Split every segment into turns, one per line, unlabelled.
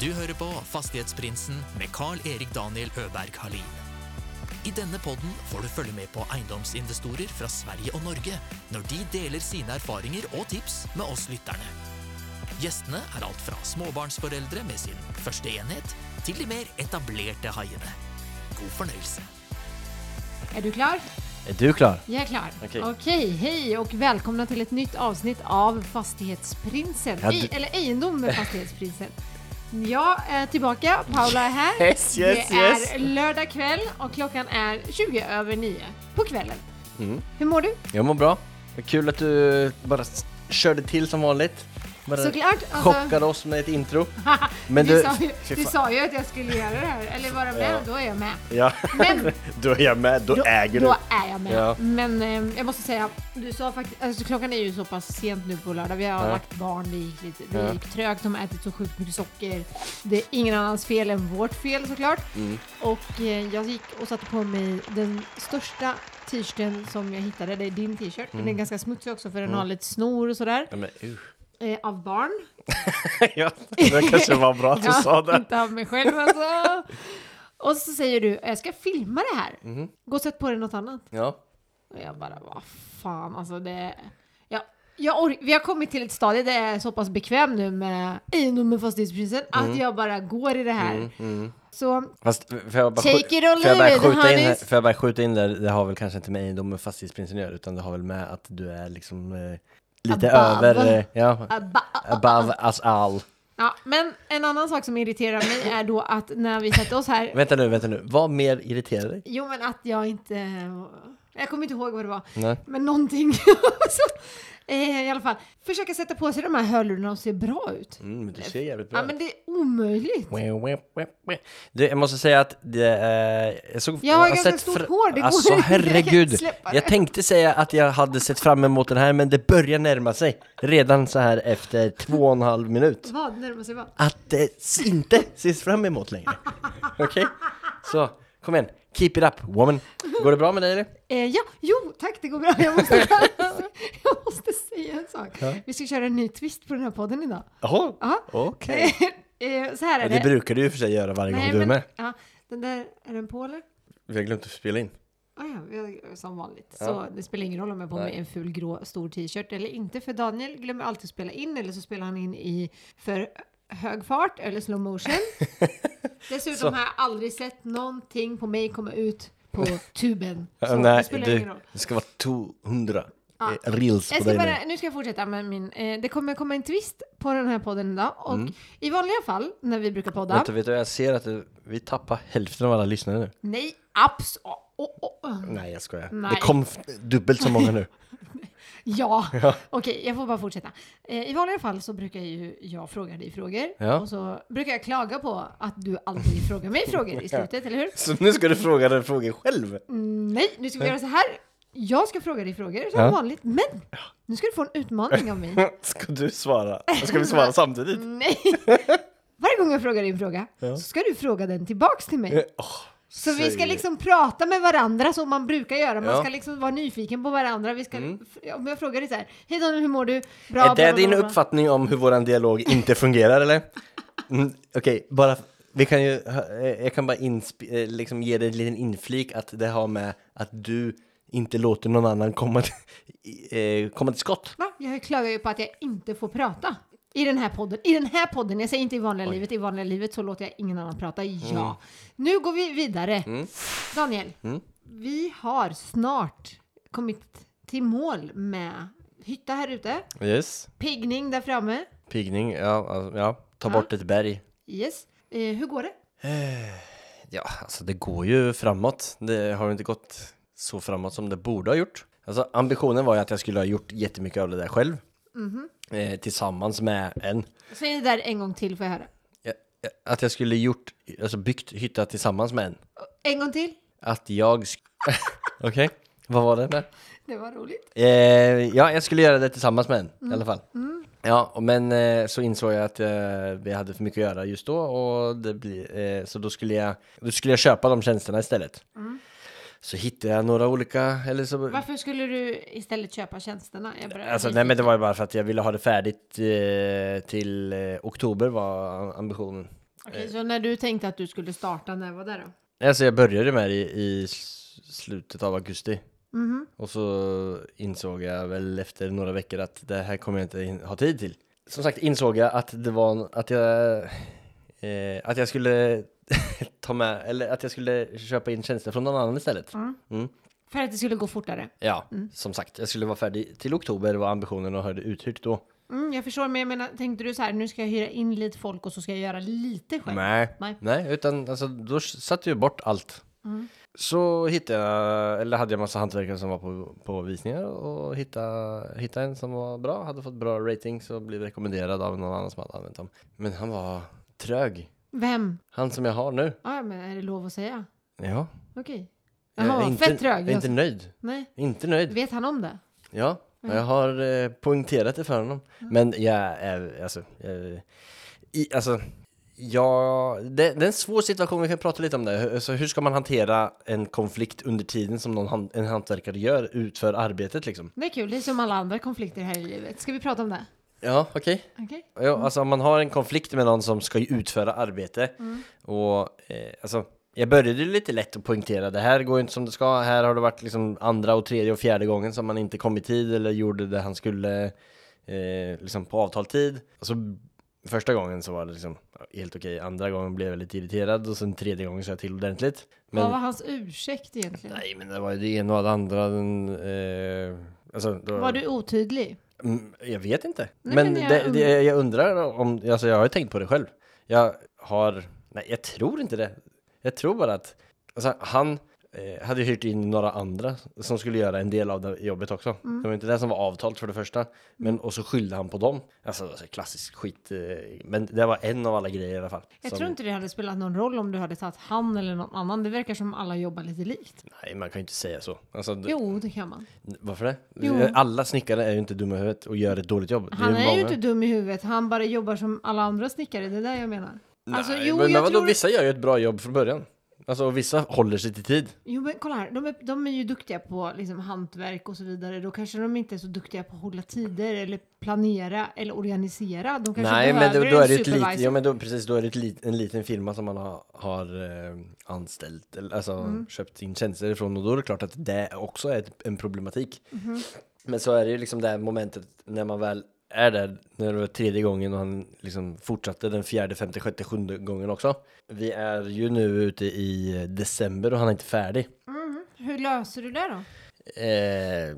Du hører på Fastighetsprinsen med Carl-Erik Daniel Øberg Halin. I denne podden får du følge med på eiendomsinvestorer fra Sverige og Norge når de deler sine erfaringer og tips med oss lytterne. Gjestene er alt fra småbarnsforeldre med sin første enhet, til de mer etablerte haiene. God fornøyelse.
Är du klar?
Är du klar?
Jag är klar.
Okej.
hej och välkomna till ett nytt avsnitt av Fastighetsprinsen.
Ja,
Ej-
du-
Eller Egendom med Fastighetsprinsen. Jag är tillbaka, Paula är här.
Yes, yes,
det
yes.
är lördag kväll och klockan är 20 över 9 på kvällen.
Mm.
Hur mår du?
Jag mår bra. Vad Kul att du bara s- körde till som vanligt. Bara
Såklart, alltså-
chockade oss med ett intro. Men
du,
du-
sa ju,
fy
du
fan.
sa ju att jag skulle göra det här, eller vara med, då är jag med.
Ja,
Men
då är jag med. Då,
Då,
äger
då
du.
är jag med.
Ja.
Men eh, jag måste säga, du sa faktiskt, alltså, klockan är ju så pass sent nu på lördag. Vi har lagt barn, det gick, lite, det
Ja.
gick trögt, de har ätit så sjukt mycket socker. Det är ingen annans fel än vårt fel såklart.
Mm.
Och eh, jag gick och satte på mig den största t-shirten som jag hittade. Det är din t-shirt.
Mm.
Den är ganska smutsig också för den har lite snor och sådär.
Ja, men, uh.
Eh, av barn.
ja, det kanske var bra att du
Ja,
sa det.
Inte av mig själv alltså. Och så säger du, jag ska filma det här.
Mm-hmm.
Gå och sätt på dig något annat.
Ja.
Och jag bara, vad fan alltså det... Ja, jag or- vi har kommit till ett stadie där jag är så pass bekväm nu med egendom och fastighetspriser
Mm.
att jag bara går i det här. Så
Fast eh, får jag bara,
Take
skju-
it or
får
leave
jag bara
it,
skjuta in, här-
honeys.
får jag bara skjuta in där, det har väl kanske inte med egendom med fastighetsprinsen att göra, utan det har väl med att du är liksom eh, lite
Above.
över, eh, ja,
äh, ba-
above us all.
ja, men en annan sak som irriterar mig är då att när vi satte oss här
Vänta nu, vänta nu, vad mer irriterar dig?
Jo men att jag inte... Jag kommer inte ihåg vad det var.
Nej.
Men någonting. så, eh, I alla fall. Försöka sätta på sig de här hörlurarna och se bra ut.
Mm, men du ser jävligt bra
Ja
ut.
men det är omöjligt.
Du, jag måste säga att det, eh, jag såg...
Jag har
har
ganska
sett
stort
fr-
hår, det går
Alltså
inte.
herregud.
Släppa det.
Jag tänkte säga att jag hade sett fram emot den här, men det börjar närma sig. Redan så här efter två och en halv minut.
Vad närmar sig vad?
Att det s- inte ses fram emot längre. Okej? Så, kom igen. Keep it up, woman. Går det bra med dig eller?
Eh, ja, jo tack det går bra. Jag måste, jag måste säga en sak.
Ja.
Vi ska köra en ny twist på den här podden idag.
Jaha,
Ja.
okej.
eh, så här är
Ja,
det.
Det brukar du i och för sig göra varje gång du är med.
ja, den där, är den på eller?
Vi har glömt att spela in.
Ah, ja, vi har- som vanligt. Så
Ja.
det spelar ingen roll om jag har på mig en ful grå stor t-shirt eller inte. För Daniel glömmer alltid att spela in eller så spelar han in i för hög fart eller slow motion. Dessutom
Så.
har jag aldrig sett någonting på mig komma ut på tuben.
Ja,
Så det
Äh, Nej,
spelar ingen
du,
roll.
det ska vara 200
Ja.
eh, reels
Jag
på
ska
dig nu.
bara, nu ska jag fortsätta med min... Eh, det kommer komma en twist på den här podden idag. Och i vanliga fall när vi brukar podda...
Mm. Vänta, vet du, jag ser att du- vi tappar hälften av alla lyssnare nu.
Nej, abs... Oh, oh, oh.
Nej, jag skojar.
Nej.
Det kom f- dubbelt så många nu.
Ja, okej, jag får bara fortsätta. Eh, I vanliga fall så brukar ju jag fråga dig frågor
Ja.
och så brukar jag klaga på att du aldrig frågar mig frågor i slutet, eller hur?
Så nu ska du fråga den frågan själv.
Mm, nej, nu ska vi göra så här. Jag ska fråga dig frågor som
Ja.
vanligt, men nu ska du få en utmaning av mig.
Ska du svara? Ska vi svara samtidigt?
Nej! Varje gång jag frågar dig en fråga så ska du fråga den tillbaks till mig.
Åh,
Så vi ska
säg-
liksom prata med varandra som man brukar göra. Man
Ja. Mm.
ska liksom vara nyfiken på varandra. Vi ska, f- Om jag frågar dig så här, hej Daniel, hur mår du? Bra,
Är
bla,
det
bla,
din
bla, bla."
uppfattning om hur vår dialog inte fungerar, eller? Mm, Okej, bara... Vi kan ju, eh, jag kan bara insp- eh, liksom ge dig en liten inflik att det har med att du inte låter någon annan komma till, i- eh, komma till skott.
Va? Jag klagar ju på att jag inte får prata i den här podden. I den här podden, jag säger inte i vanliga livet, i vanliga livet så låter jag ingen annan prata. Ja.
Mm.
Nu går vi vidare. Daniel, vi har snart kommit till mål med hytta här ute,
Yes.
piggning där framme.
Piggning, ja, alltså, ja. Ta bort ett berg.
Yes. Eh, hur går det?
Ja, alltså det går ju framåt. Det har ju inte gått så framåt som det borde ha gjort. Alltså ambitionen var ju att jag skulle ha gjort jättemycket av det där själv.
Mhm.
Eh, tillsammans med en.
Säg det där en gång till får jag höra.
Ja, ja, Att jag skulle gjort, alltså byggt hytta tillsammans med en.
En gång till.
Att jag... sk- Okej, vad var det där?
Det var roligt.
Eh, ja, jag skulle göra det tillsammans med en i alla fall. Ja, och men eh, så insåg jag att eh, vi hade för mycket att göra just då och det blir, eh, så då skulle, jag, då skulle jag köpa de tjänsterna istället. Så hittade jag några olika, eller så...
Varför skulle du istället köpa tjänsterna? Jag bara-
Alltså, nej men det var ju bara för att jag ville ha det färdigt eh, till eh, oktober var ambitionen.
Okej, så när du tänkte att du skulle starta, när var det då?
Alltså jag började med det i, i s- slutet av augusti. Och så insåg jag väl efter några veckor att det här kommer jag inte hin- ha tid till. Som sagt insåg jag att det var en- att jag, eh, att jag skulle ta med, eller att jag skulle köpa in tjänster från någon annan istället. Mm.
För att det skulle gå fortare.
Ja, som sagt, jag skulle vara färdig till oktober var ambitionen och hade uthyrt då.
Mm, jag förstår, men jag menar, tänkte du så här, nu ska jag hyra in lite folk och så ska jag göra lite själv?
Nej.
Nej. Mm.
utan alltså, då s- satte jag bort allt. Så hittade jag, eller hade jag massa hantverkare som var på, på visningar och hittade, hittade en som var bra, hade fått bra ratings och blev rekommenderad av någon annan som hade använt dem. Men han var trög.
Vem?
Han som jag har nu.
Ja, ja, men är det lov att säga?
Ja.
Okej.
Jag
Jaha,
är Eh, inte,
fett trög.
jag är inte nöjd.
Nej,
Inte nöjd.
vet han om det?
Ja, och jag har eh, poängterat det för honom. Men jag är, alltså, jag, i, alltså, ja, det, det är en svår situation, vi kan prata lite om det. Hur- Alltså, hur ska man hantera en konflikt under tiden som någon han, en hantverkare gör, utför arbetet liksom?
Det är kul, det är som alla andra konflikter här i livet. Ska vi prata om det?
Ja, okej.
Okej?
Ja,
Mm.
alltså om man har en konflikt med någon som ska ju utföra arbete
Mm.
och eh, alltså jag började ju lite lätt att poängtera det här går ju inte som det ska. Här har det varit liksom andra och tredje och fjärde gången som man inte kom i tid eller gjorde det han skulle eh, liksom på avtaltid. Och så första gången så var det liksom helt okej. Andra gången blev jag lite irriterad och sen tredje gången sa jag till ordentligt. Men
Vad var hans ursäkt egentligen?
nej, men det var ju det ena och det andra. Den, eh, alltså, då,
Var du otydlig?
Mm, Jag vet inte.
Nej,
men
men jag
det,
und-
det, jag undrar om, alltså jag har ju tänkt på det själv. Jag har, nej jag tror inte det. Jag tror bara att, alltså han eh, hade hyrt in några andra som skulle göra en del av det jobbet också.
Mm.
Det var inte det som var avtalat för det första. Men, och så skyllde han på dem. Alltså, alltså klassisk skit. Eh, men det var en av alla grejer i alla fall.
Jag
som-
tror inte det hade spelat någon roll om du hade tagit han eller någon annan. Det verkar som alla jobbar lite likt.
Nej, man kan ju inte säga så. Alltså, d-
Jo, det kan man.
Varför det?
Jo.
Alla snickare är ju inte dumma i huvudet och gör ett dåligt jobb. Det
Han är
många-
ju inte dum i huvudet. Han bara jobbar som alla andra snickare. Det är det jag menar. alltså,
Nej,
jo,
men, men
jag
vadå,
tror...
vissa gör ju ett bra jobb från början. Alltså och vissa håller sig till tid.
Jo, men kolla här. De är, de är ju duktiga på liksom, hantverk och så vidare. Då kanske de inte är så duktiga på att hålla tider eller planera eller organisera. De kanske
Nej, men
behöver
då, då är det
en
ett lit,
supervisor.
ja, men då, precis, då är det ett lit, en liten firma som man har, har eh, anställt, eller, alltså
Mm.
köpt in tjänster ifrån och då är det klart att det också är ett, en problematik.
Mm-hmm.
Men så är det ju liksom det här momentet när man väl är där, när det var tredje gången och han liksom fortsatte den fjärde, femte, sjätte, sjunde gången också. Vi är ju nu ute i december och han är inte färdig.
Hur löser du det då?
Eh,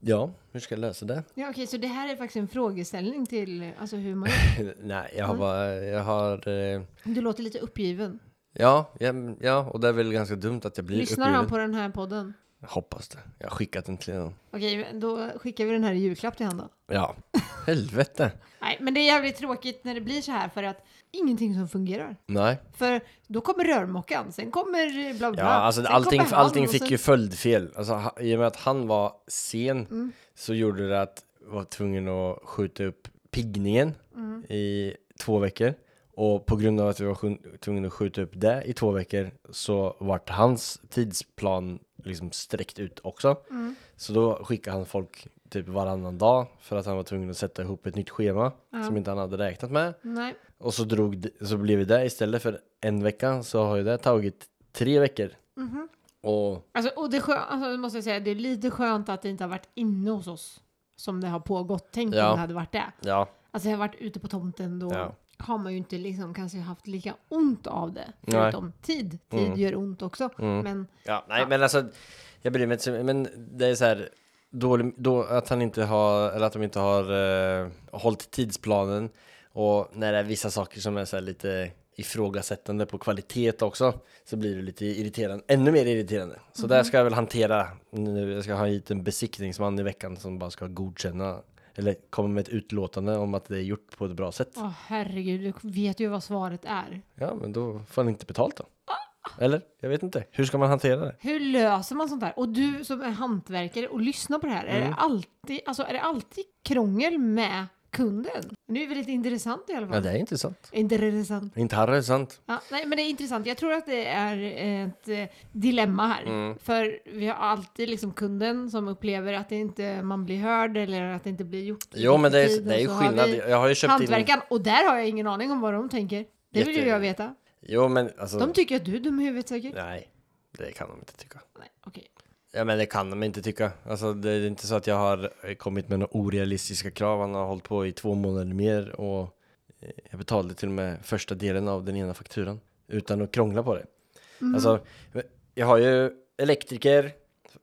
ja, hur ska jag lösa det?
Ja, okej, så det här är faktiskt en frågeställning till alltså, hur man gör.
Nej, jag har
Mm.
bara, jag har, eh,
Du låter lite uppgiven.
ja, ja, mm, ja, och det är väl ganska dumt att jag blir
Lyssnar han på den här podden?
Jag hoppas det. Jag har skickat den till honom.
Okej, då skickar vi den här i julklapp till honom då.
Ja, helvete.
Nej, men det är jävligt tråkigt när det blir så här för att ingenting som fungerar.
Nej.
För då kommer rörmokaren, sen kommer eh, bla bla.
Ja, alltså
sen
allting,
kommer han
allting
och
fick
sen-
ju följdfel. Alltså, ha- I och med att han var sen
Mm.
så gjorde det att jag var tvungen att skjuta upp piggningen
Mm.
i två veckor. Och på grund av att vi var sjun- tvungna att skjuta upp det i två veckor så vart hans tidsplan liksom sträckt ut också.
Mm.
Så då skickade han folk typ varannan dag för att han var tvungen att sätta ihop ett nytt schema som inte han hade räknat med.
Nej,
Och så, drog, det- så blev det istället för en vecka så har ju det tagit tre veckor. Och
alltså, och det, är skö- alltså, det måste jag säga, det är lite skönt att det inte har varit inne hos oss som det har pågått. Tänk
Ja.
om det hade varit det.
ja,
Alltså jag har varit ute på tomten då
Ja.
har man ju inte liksom kanske haft lika ont av det.
Nej. Mm.
Förutom tid. Tid gör ont också. Men
ja nej men alltså jag bryr mig inte så- men det är så här dålig, då, att han inte har eller att de inte har eh, hållit tidsplanen och när det är vissa saker som är så här lite ifrågasättande på kvalitet också så blir det lite irriterande, ännu mer irriterande. Så där ska jag väl hantera nu. Jag ska ha hit en besiktningsman i veckan som bara ska godkänna eller komma med ett utlåtande om att det är gjort på ett bra sätt.
åh, herregud, du vet ju vad svaret är.
Ja, men då får han inte betalt då. Eller? Jag vet inte. Hur ska man hantera det?
Hur löser man sånt där? Och du som är hantverkare och lyssnar på det här, är, det
Mm.
alltid, alltså, är det alltid krångel med kunden? Nu är det väldigt intressant i alla
Ja,
fall.
det är intressant.
Intressant.
Inte harre, sant?
Ja, nej, men det är intressant. Jag tror att det är ett eh, dilemma här.
Mm.
För vi har alltid liksom kunden som upplever att det inte, man blir hörd eller att det inte blir gjort. i
Jo, men det är-
tid.
det är
Och
ju
så har
skillnad.
vi
Jag har ju köpt in-
hantverkaren, Och där har jag ingen aning om vad de tänker. Det vill ju
Jätte-
jag veta.
Jo, men alltså...
De tycker att du är dum i huvudet säkert.
Nej, det kan de inte tycka.
Nej, okej.
Ja, men det kan de inte tycka. Alltså, det är inte så att jag har eh, kommit med några orealistiska krav. Han har hållit på i två månader mer och eh, jag betalade till och med första delen av den ena fakturan utan att krångla på det.
Mhm.
Alltså, jag har ju elektriker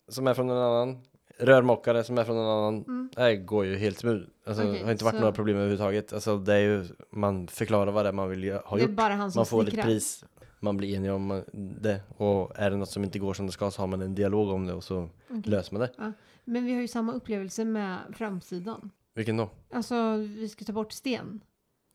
som är från en annan, rörmokare som är från en annan. Det här går ju helt smooth. Alltså,
Mm. Okej,
det har inte varit
så-
några problem överhuvudtaget. Alltså, det är ju, man förklarar vad det är man vill gö- ha
Det är
gjort.
bara han som
man får ett
snickrar.
pris. Man blir enig om det och är det något som inte går som det ska så har man en dialog om det och
Mm.
så löser man det.
Ja. Men vi har ju samma upplevelse med framsidan.
Vilken då?
Alltså, vi ska ta bort sten.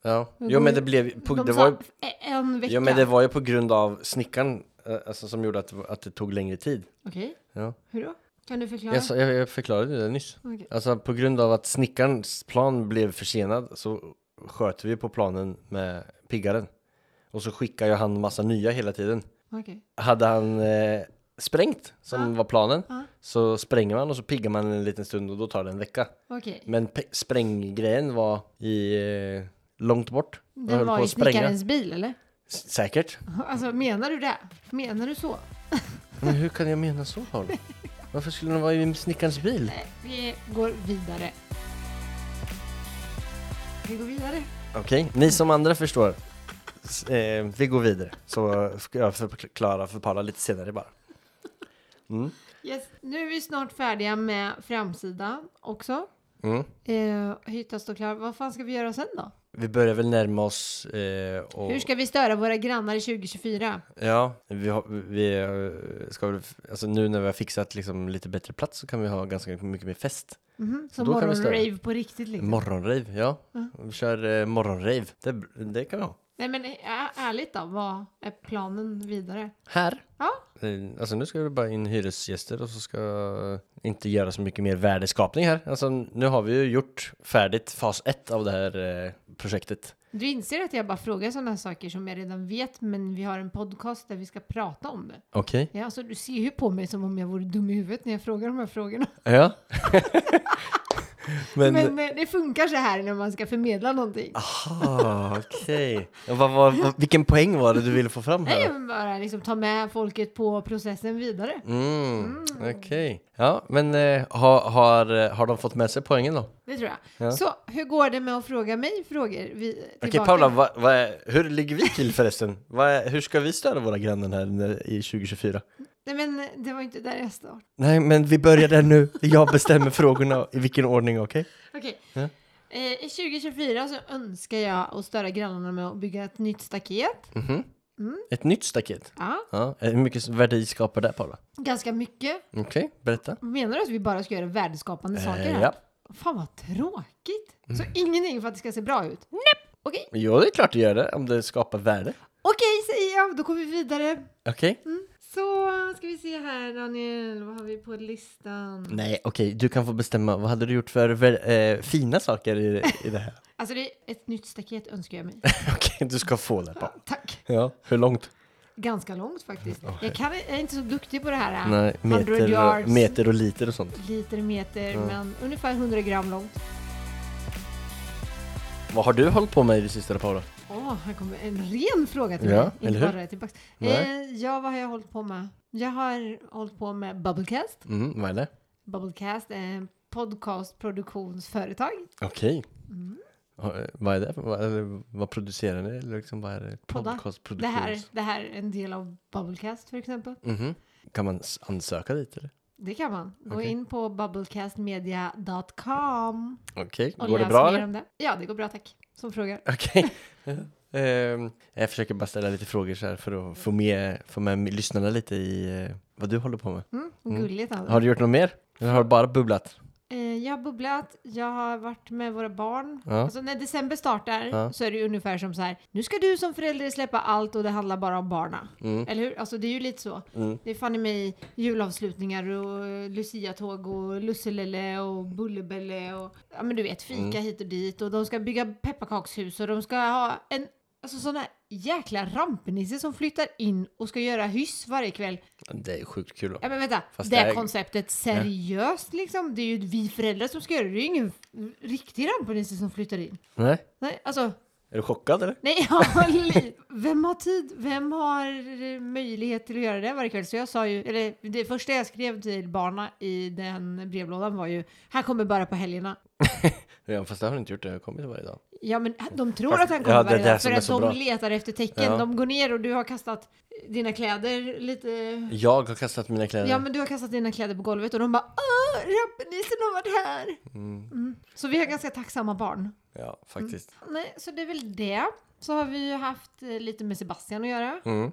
Ja,
Men
jo
går
men
ju-
det blev på,
De
det
sa
var ju,
e- en vecka.
jo, men det var ju på grund av snickaren eh, alltså, som gjorde att, att det tog längre tid.
Okej,
Ja.
hur då? Kan du förklara?
Jag, sa- jag, jag förklarade det nyss.
Okej.
Alltså på grund av att snickarens plan blev försenad så sköt vi på planen med piggaren. Och så skickar ju han massa nya hela tiden.
Okej.
Hade han eh, sprängt, som var planen,
Ja.
så spränger man och så piggar man en liten stund och då tar det en vecka.
Okej.
Men pe- spränggrejen var i, eh, långt bort. och
Det
höll
var
på
i
att spränga.
snickarens bil eller?
S- Säkert.
Alltså menar du det? Menar du så?
Men hur kan jag mena så, Paul? Varför skulle den vara i snickarens bil?
Nej, Eh, vi går vidare. Vi går vidare.
Okej, ni som andra förstår. S- Eh, vi går vidare, så ska jag förklara för Paula lite senare bara.
Yes. Nu är vi snart färdiga med framsidan också.
Mm.
Eh, hyttan står klar. Vad fan ska vi göra sen då?
Vi börjar väl närma oss eh, och...
Hur ska vi störa våra grannar i 2024?
Ja, vi, har, vi eh, ska väl, alltså nu när vi har fixat liksom lite bättre plats så kan vi ha ganska mycket mer fest.
Mhm, Som
Då kan vi störa.
morgonrave på riktigt liksom.
Morgonrave, ja. Vi kör eh, morgonrave, det, det kan vi ha.
Nej men ä- ärligt då, vad är planen vidare?
Här?
Ja,
Eh, Alltså nu ska vi bara in hyresgäster och så ska eh, inte göra så mycket mer värdeskapning här. Alltså nu har vi ju gjort färdigt fas ett av det här eh, projektet.
du inser att jag bara frågar sådana saker som jag redan vet men vi har en podcast där vi ska prata om det.
Okej.
Ja, alltså du ser ju på mig som om jag vore dum i huvudet när jag frågar de här frågorna.
Ja. Men...
Men, eh, det funkar så här när man ska förmedla någonting.
Ah. Aha, okej. Ja, Vad, vad, vad, vilken poäng var det du ville få fram
Nej,
här?
men bara liksom ta med folket på processen vidare.
Mm, okej. Ja, men eh, ha, har, eh, har de fått med sig poängen då?
Det tror jag. Så hur går det med att fråga mig frågor? Vi,
Okej
tillbaka?
Paula, vad, vad är, hur ligger vi till förresten? Vad är, hur ska vi störa våra grannar här när- i 2024?
Nej, men det var inte där jag startade.
Nej, men vi börjar där nu. Jag bestämmer frågorna i vilken ordning, okej?
Okej.
Ja.
Eh, I 2024 så önskar jag att störa grannarna med att bygga ett nytt staket.
Ett nytt staket.
Ja,
Ja, eh, hur mycket värde skapar det Paula?
ganska mycket.
Okej, berätta.
Menar du att vi bara ska göra värdeskapande saker
Eh,
här?
ja. Mm.
Fan vad tråkigt. Så ingenting för att det ska se bra ut? Nej. Okej,
Jo, det är klart du gör det om det skapar värde. Mm.
okej säger jag. Då går vi vidare.
Okej?
Så ska vi se här Daniel, vad har vi på listan?
Nej, okej, du kan få bestämma. Vad hade du gjort för vä- eh, fina saker i, i det här?
Alltså det är ett nytt staket önskar jag mig.
okej, du ska få det Paula.
Tack.
Ja, hur långt?
Ganska långt faktiskt. Jag, kan, jag är inte så duktig på det här. eh,
Nej,
100
meter,
yards.
och- meter och liter och sånt.
liter meter, men ungefär 100 gram långt.
Vad har du hållit på med i det sista då, Paula?
Åh, här kommer en ren fråga till
Ja,
mig. Inte
eller hur?
bara tillbaks. Eh,
Nej.
ja, vad har jag hållit på med? Jag har hållit på med Bubblecast.
Mm, vad är det?
Bubblecast är en podcastproduktionsföretag.
Okej.
Mm.
Ja, eh, Vad är det? Vad, eller, vad producerar ni? Eller liksom, vad är det?
Poddar. Det
Podcastproduktions-
här, det här är en del av Bubblecast för exempel.
Mhm. Kan man s- ansöka dit eller?
Det kan man. Gå
Okej.
in på bubblecastmedia.com
Okej,
och
går det
läs
bra
mer
eller?
om det. Ja, det går bra tack. Som frågar.
Okej. Ehm, jag försöker bara ställa lite frågor så här för att få med, få med lyssnarna lite i eh, vad du håller på med.
Mm, gulligt alltså.
Har du gjort något mer? Eller har du bara bubblat?
Eh, Jag har bubblat, jag har varit med våra barn.
Ja.
Alltså när december startar
Ja.
så är det ju ungefär som så här. Nu ska du som förälder släppa allt och det handlar bara om barna.
Mm.
Eller hur? Alltså det är ju lite så. Det är fan i mig julavslutningar och eh, luciatåg och lusselelle och bullebelle och ja men du vet fika
Mm.
hit och dit och de ska bygga pepparkakshus och de ska ha en alltså sån här jäkla rampnisse som flyttar in och ska göra hyss varje kväll.
Det är sjukt kul.
Ja men vänta,
Fast
det
det är-
konceptet seriöst liksom. Det är ju vi föräldrar som ska göra det. Det är ju ingen riktig ramponisse som flyttar in.
Nej?
Nej, alltså
Är du chockad eller?
Nej, jag har li- vem har tid? Vem har möjlighet till att göra det varje kväll? Så jag sa ju, eller det första jag skrev till barna i den brevlådan var ju, han kommer bara på helgerna.
Ja, fast det har du inte gjort, det har kommit varje dag.
Ja, men äh, de tror att han kommer
Ja, det är
varje
det
dag
som
för
är
att
så
de
bra.
letar efter tecken.
Ja.
De går ner och du har kastat dina kläder lite
Jag har kastat mina kläder.
Ja men du har kastat dina kläder på golvet och de bara Åh, rappelisen har varit här! Mm. Så vi har ganska tacksamma barn.
Ja, faktiskt.
Nej, så det är väl det. Så har vi ju haft eh, lite med Sebastian att göra.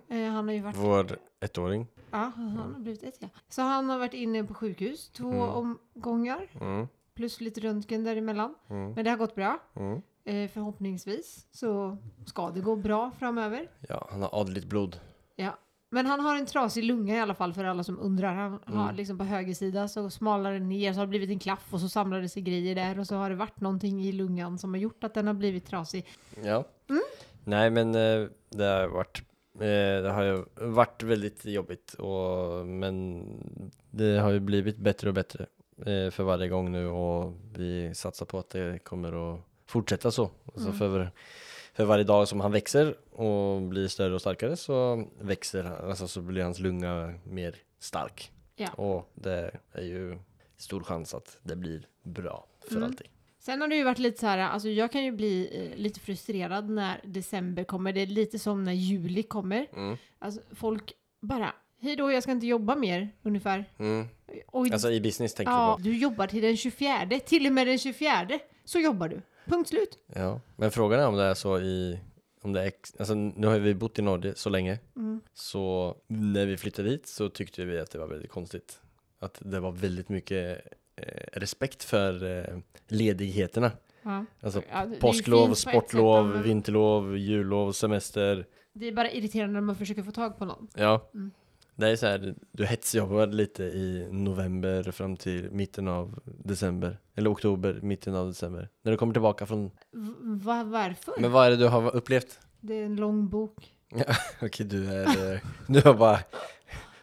Eh, han har ju varit,
Mm. Vår ettåring.
ja han har blivit ett ja. Så han har varit inne på sjukhus två omgångar.
Mm.
Plus lite röntgen däremellan. Men det har gått bra.
Mm.
Eh, förhoppningsvis så ska det gå bra framöver.
Ja, han har adligt blod.
Ja. Men han har en trasig lunga i alla fall för alla som undrar. Han har liksom på höger sida så smalar den ner så har det blivit en klaff och så samlar det sig grejer där och så har det varit någonting i lungan som har gjort att den har blivit trasig.
Ja.
Mm.
Nej, men eh, det har varit eh, det har ju varit väldigt jobbigt och, men det har ju blivit bättre och bättre eh, för varje gång nu och vi satsar på att det kommer att fortsätta så. Alltså
Mm.
för, för varje dag som han växer och blir större och starkare så växer han, alltså så blir hans lunga mer stark.
Ja.
Och det är ju stor chans att det blir bra
Mm.
för alltid.
Sen har det ju varit lite så här, alltså jag kan ju bli eh, lite frustrerad när december kommer. Det är lite som när juli kommer.
Mm.
Alltså folk bara, hej då jag ska inte jobba mer ungefär.
Mm.
Och
Alltså i business tänker du
ja,
på?
du jobbar till den 24, till och med den 24 så jobbar du. Punkt slut.
Ja, men frågan är om det är så i, om det är, ex- alltså nu har vi bott i Norge så länge,
Mm.
så när vi flyttade dit så tyckte vi att det var väldigt konstigt. Att det var väldigt mycket eh, respekt för eh, ledigheterna.
Ja.
Alltså
Ja, det- det
påsklov,
finns på ett sätt,
sportlov,
men-
vinterlov, jullov, semester.
Det är bara irriterande när man försöker få tag på någon.
Ja.
Mm.
Det är så här, du hetsjobbar lite i november fram till mitten av december. Eller oktober, mitten av december. När du kommer tillbaka från...
V- va, varför?
Men vad är det du har upplevt?
Det är en lång bok.
Ja, okej, du är... eh, Du har bara...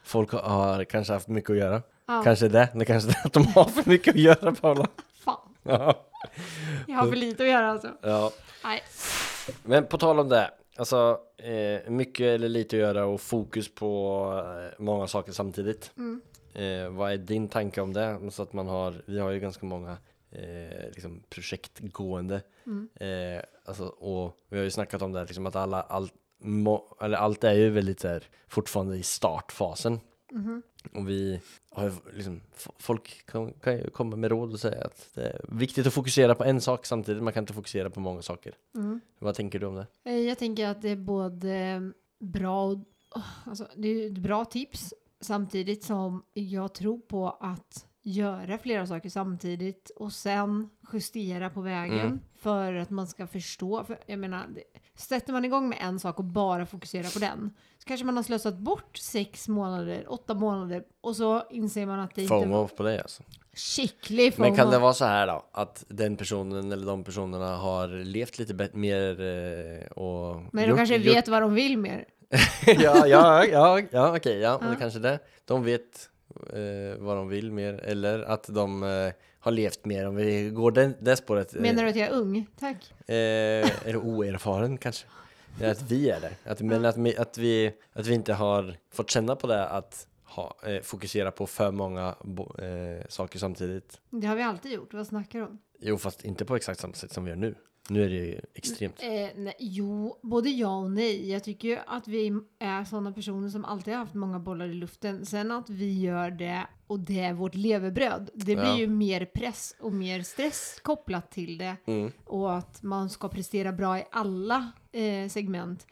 Folk har kanske haft mycket att göra.
Ja.
Kanske det. Det kanske är att de har för mycket att göra, Paula.
Fan,
Ja.
jag
Mm.
har för lite att göra alltså.
ja.
Nej.
Men på tal om det. Alltså, eh, mycket eller lite att göra och fokus på eh, många saker samtidigt. Eh, vad är din tanke om det? Så att man har, vi har ju ganska många eh, liksom projekt gående. Eh, alltså, och vi har ju snackat om det, här, liksom att alla, allt, må, eller allt är ju väldigt så här, fortfarande i startfasen. Och vi har ju liksom, f- folk kan, kan ju komma med råd och säga att det är viktigt att fokusera på en sak samtidigt, man kan inte fokusera på många saker. Vad tänker du om det?
Eh, Jag tänker att det är både eh, bra och... åh, Alltså, det är ju ett bra tips. Samtidigt som jag tror på att göra flera saker samtidigt och sen justera på vägen
Mm.
för att man ska förstå. För jag menar, det, sätter man igång med en sak och bara fokuserar på den så kanske man har slösat bort sex månader, åtta månader och så inser man att det inte
FOMO på dig alltså.
Skicklig form.
Men kan det vara så här då? Att den personen eller de personerna har levt lite bet- mer eh, och...
Men de
gjort-
kanske
gjort-
vet vad de vill mer.
ja, ja, ja, ja okej, ja, men det kanske det. De vet eh, vad de vill mer, eller att de eh, har levt mer, om vi går den, det spåret. eh,
Menar du att jag är ung? Tack.
Eh, eller oerfaren kanske. Det är att vi är det. Att, men att, vi- att, vi, att vi inte har fått känna på det att ha, eh, fokusera på för många bo, eh, saker samtidigt.
Det har vi alltid gjort. Vad snackar du om?
Jo, fast inte på exakt samma sätt som vi gör nu. Nu är det ju extremt.
Eh, nej, jo, både ja och nej. Jag tycker ju att vi är sådana personer som alltid har haft många bollar i luften. Sen att vi gör det och det är vårt levebröd. Det blir
Ja.
ju mer press och mer stress kopplat till det. Och att man ska prestera bra i alla eh, segment.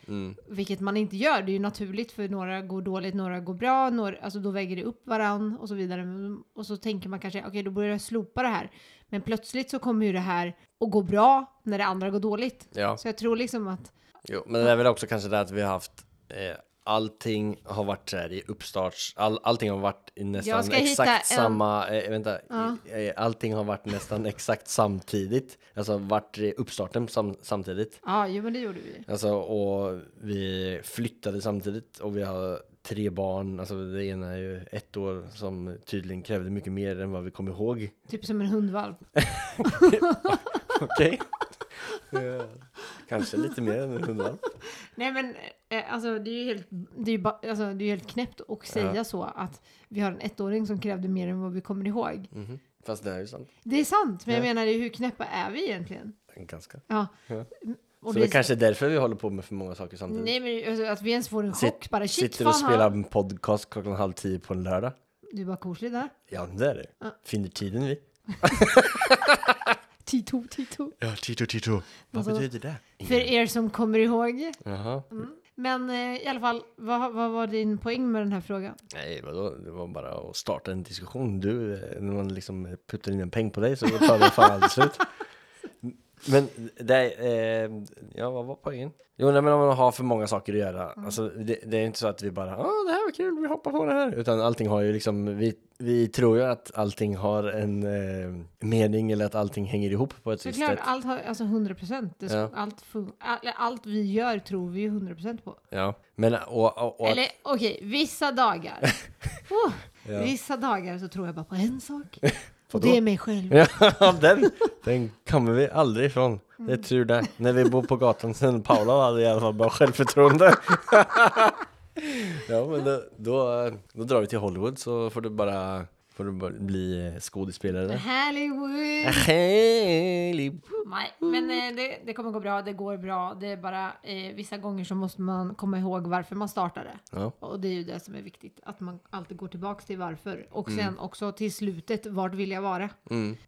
Vilket man inte gör. Det är ju naturligt för några går dåligt, några går bra. Några, alltså då väger det upp varann och så vidare. Men- Och så tänker man kanske, okej då börjar jag slopa det här. Men plötsligt så kommer ju det här att gå bra när det andra går dåligt.
Ja.
Så jag tror liksom att,
Jo, men det är väl också kanske det att vi har haft eh, allting har varit så här i uppstarts, all, allting har varit i
Jag
nästan
ska hitta en-
exakt samma, eh, vänta, i- eh, allting har varit nästan exakt samtidigt, alltså varit i uppstarten sam, samtidigt.
ja jo men det gjorde vi.
Alltså, och vi flyttade samtidigt och vi har tre barn, alltså det ena är ju ett år som tydligen krävde mycket mer än vad vi kom ihåg.
Typ som en hundvalp.
Okej? Kanske lite mer än en hundravalp.
Nej men eh, alltså det är ju helt, det är ju ba, alltså, det är ju helt knäppt att säga så att vi har en ettåring som krävde mer än vad vi kommer ihåg.
Mhm. Fast det är ju sant.
Det är sant, men jag menar hur knäppa är vi egentligen?
Ganska.
Ja.
Ja.
Och
så
det
det
är-
kanske är därför vi håller på med för många saker samtidigt.
Nej men alltså, att vi ens får en
Sitt-
chock bara. Shit,
sitter och
fan,
spelar
han-
en podcast klockan halv tio på en lördag.
Du är bara koselig där.
Ja, det är det. Finner tiden vi.
Tito, tito.
Ja, tito, tito. Vad
Alltså-
betyder det?
För er som kommer ihåg.
Jaha.
Men eh, i alla fall, vad, vad var din poäng med den här frågan?
Nej, vadå? Det var bara att starta en diskussion. Du, eh, när man liksom puttar in en peng på dig så tar det fan aldrig slut. Men det, eh, ja, vad var poängen? Jo, nej, men om man har för många saker att göra.
Mm.
Alltså, det, det är inte så att vi bara, ah, det här var kul, vi hoppar på det här. Utan allting har ju liksom, vi, vi tror ju att allting har en eh, mening eller att allting hänger ihop på ett visst
Såklart,
sätt.
allt har, alltså 100 procent.
Ja.
Allt, fun- all, allt vi gör tror vi ju 100 procent på.
Ja, men och, och, och
Eller okej, vissa dagar. oh,
Ja.
Vissa dagar så tror jag bara på en sak. Och
Vadå?
det är mig själv.
Ja, den, den kommer vi aldrig ifrån. Det är tur det. När vi bor på gatan sen Paula hade i alla fall bara självförtroende. ja, men då, då, då drar vi till Hollywood så får du bara, får du bara bli skådespelare där.
Hollywood!
Hollywood.
Nej, men eh, det, det kommer gå bra, det går bra. Det är bara eh, vissa gånger så måste man komma ihåg varför man startade.
Ja.
Och det är ju det som är viktigt, att man alltid går tillbaks till varför. Och
Mm.
sen också till slutet, vart vill jag vara?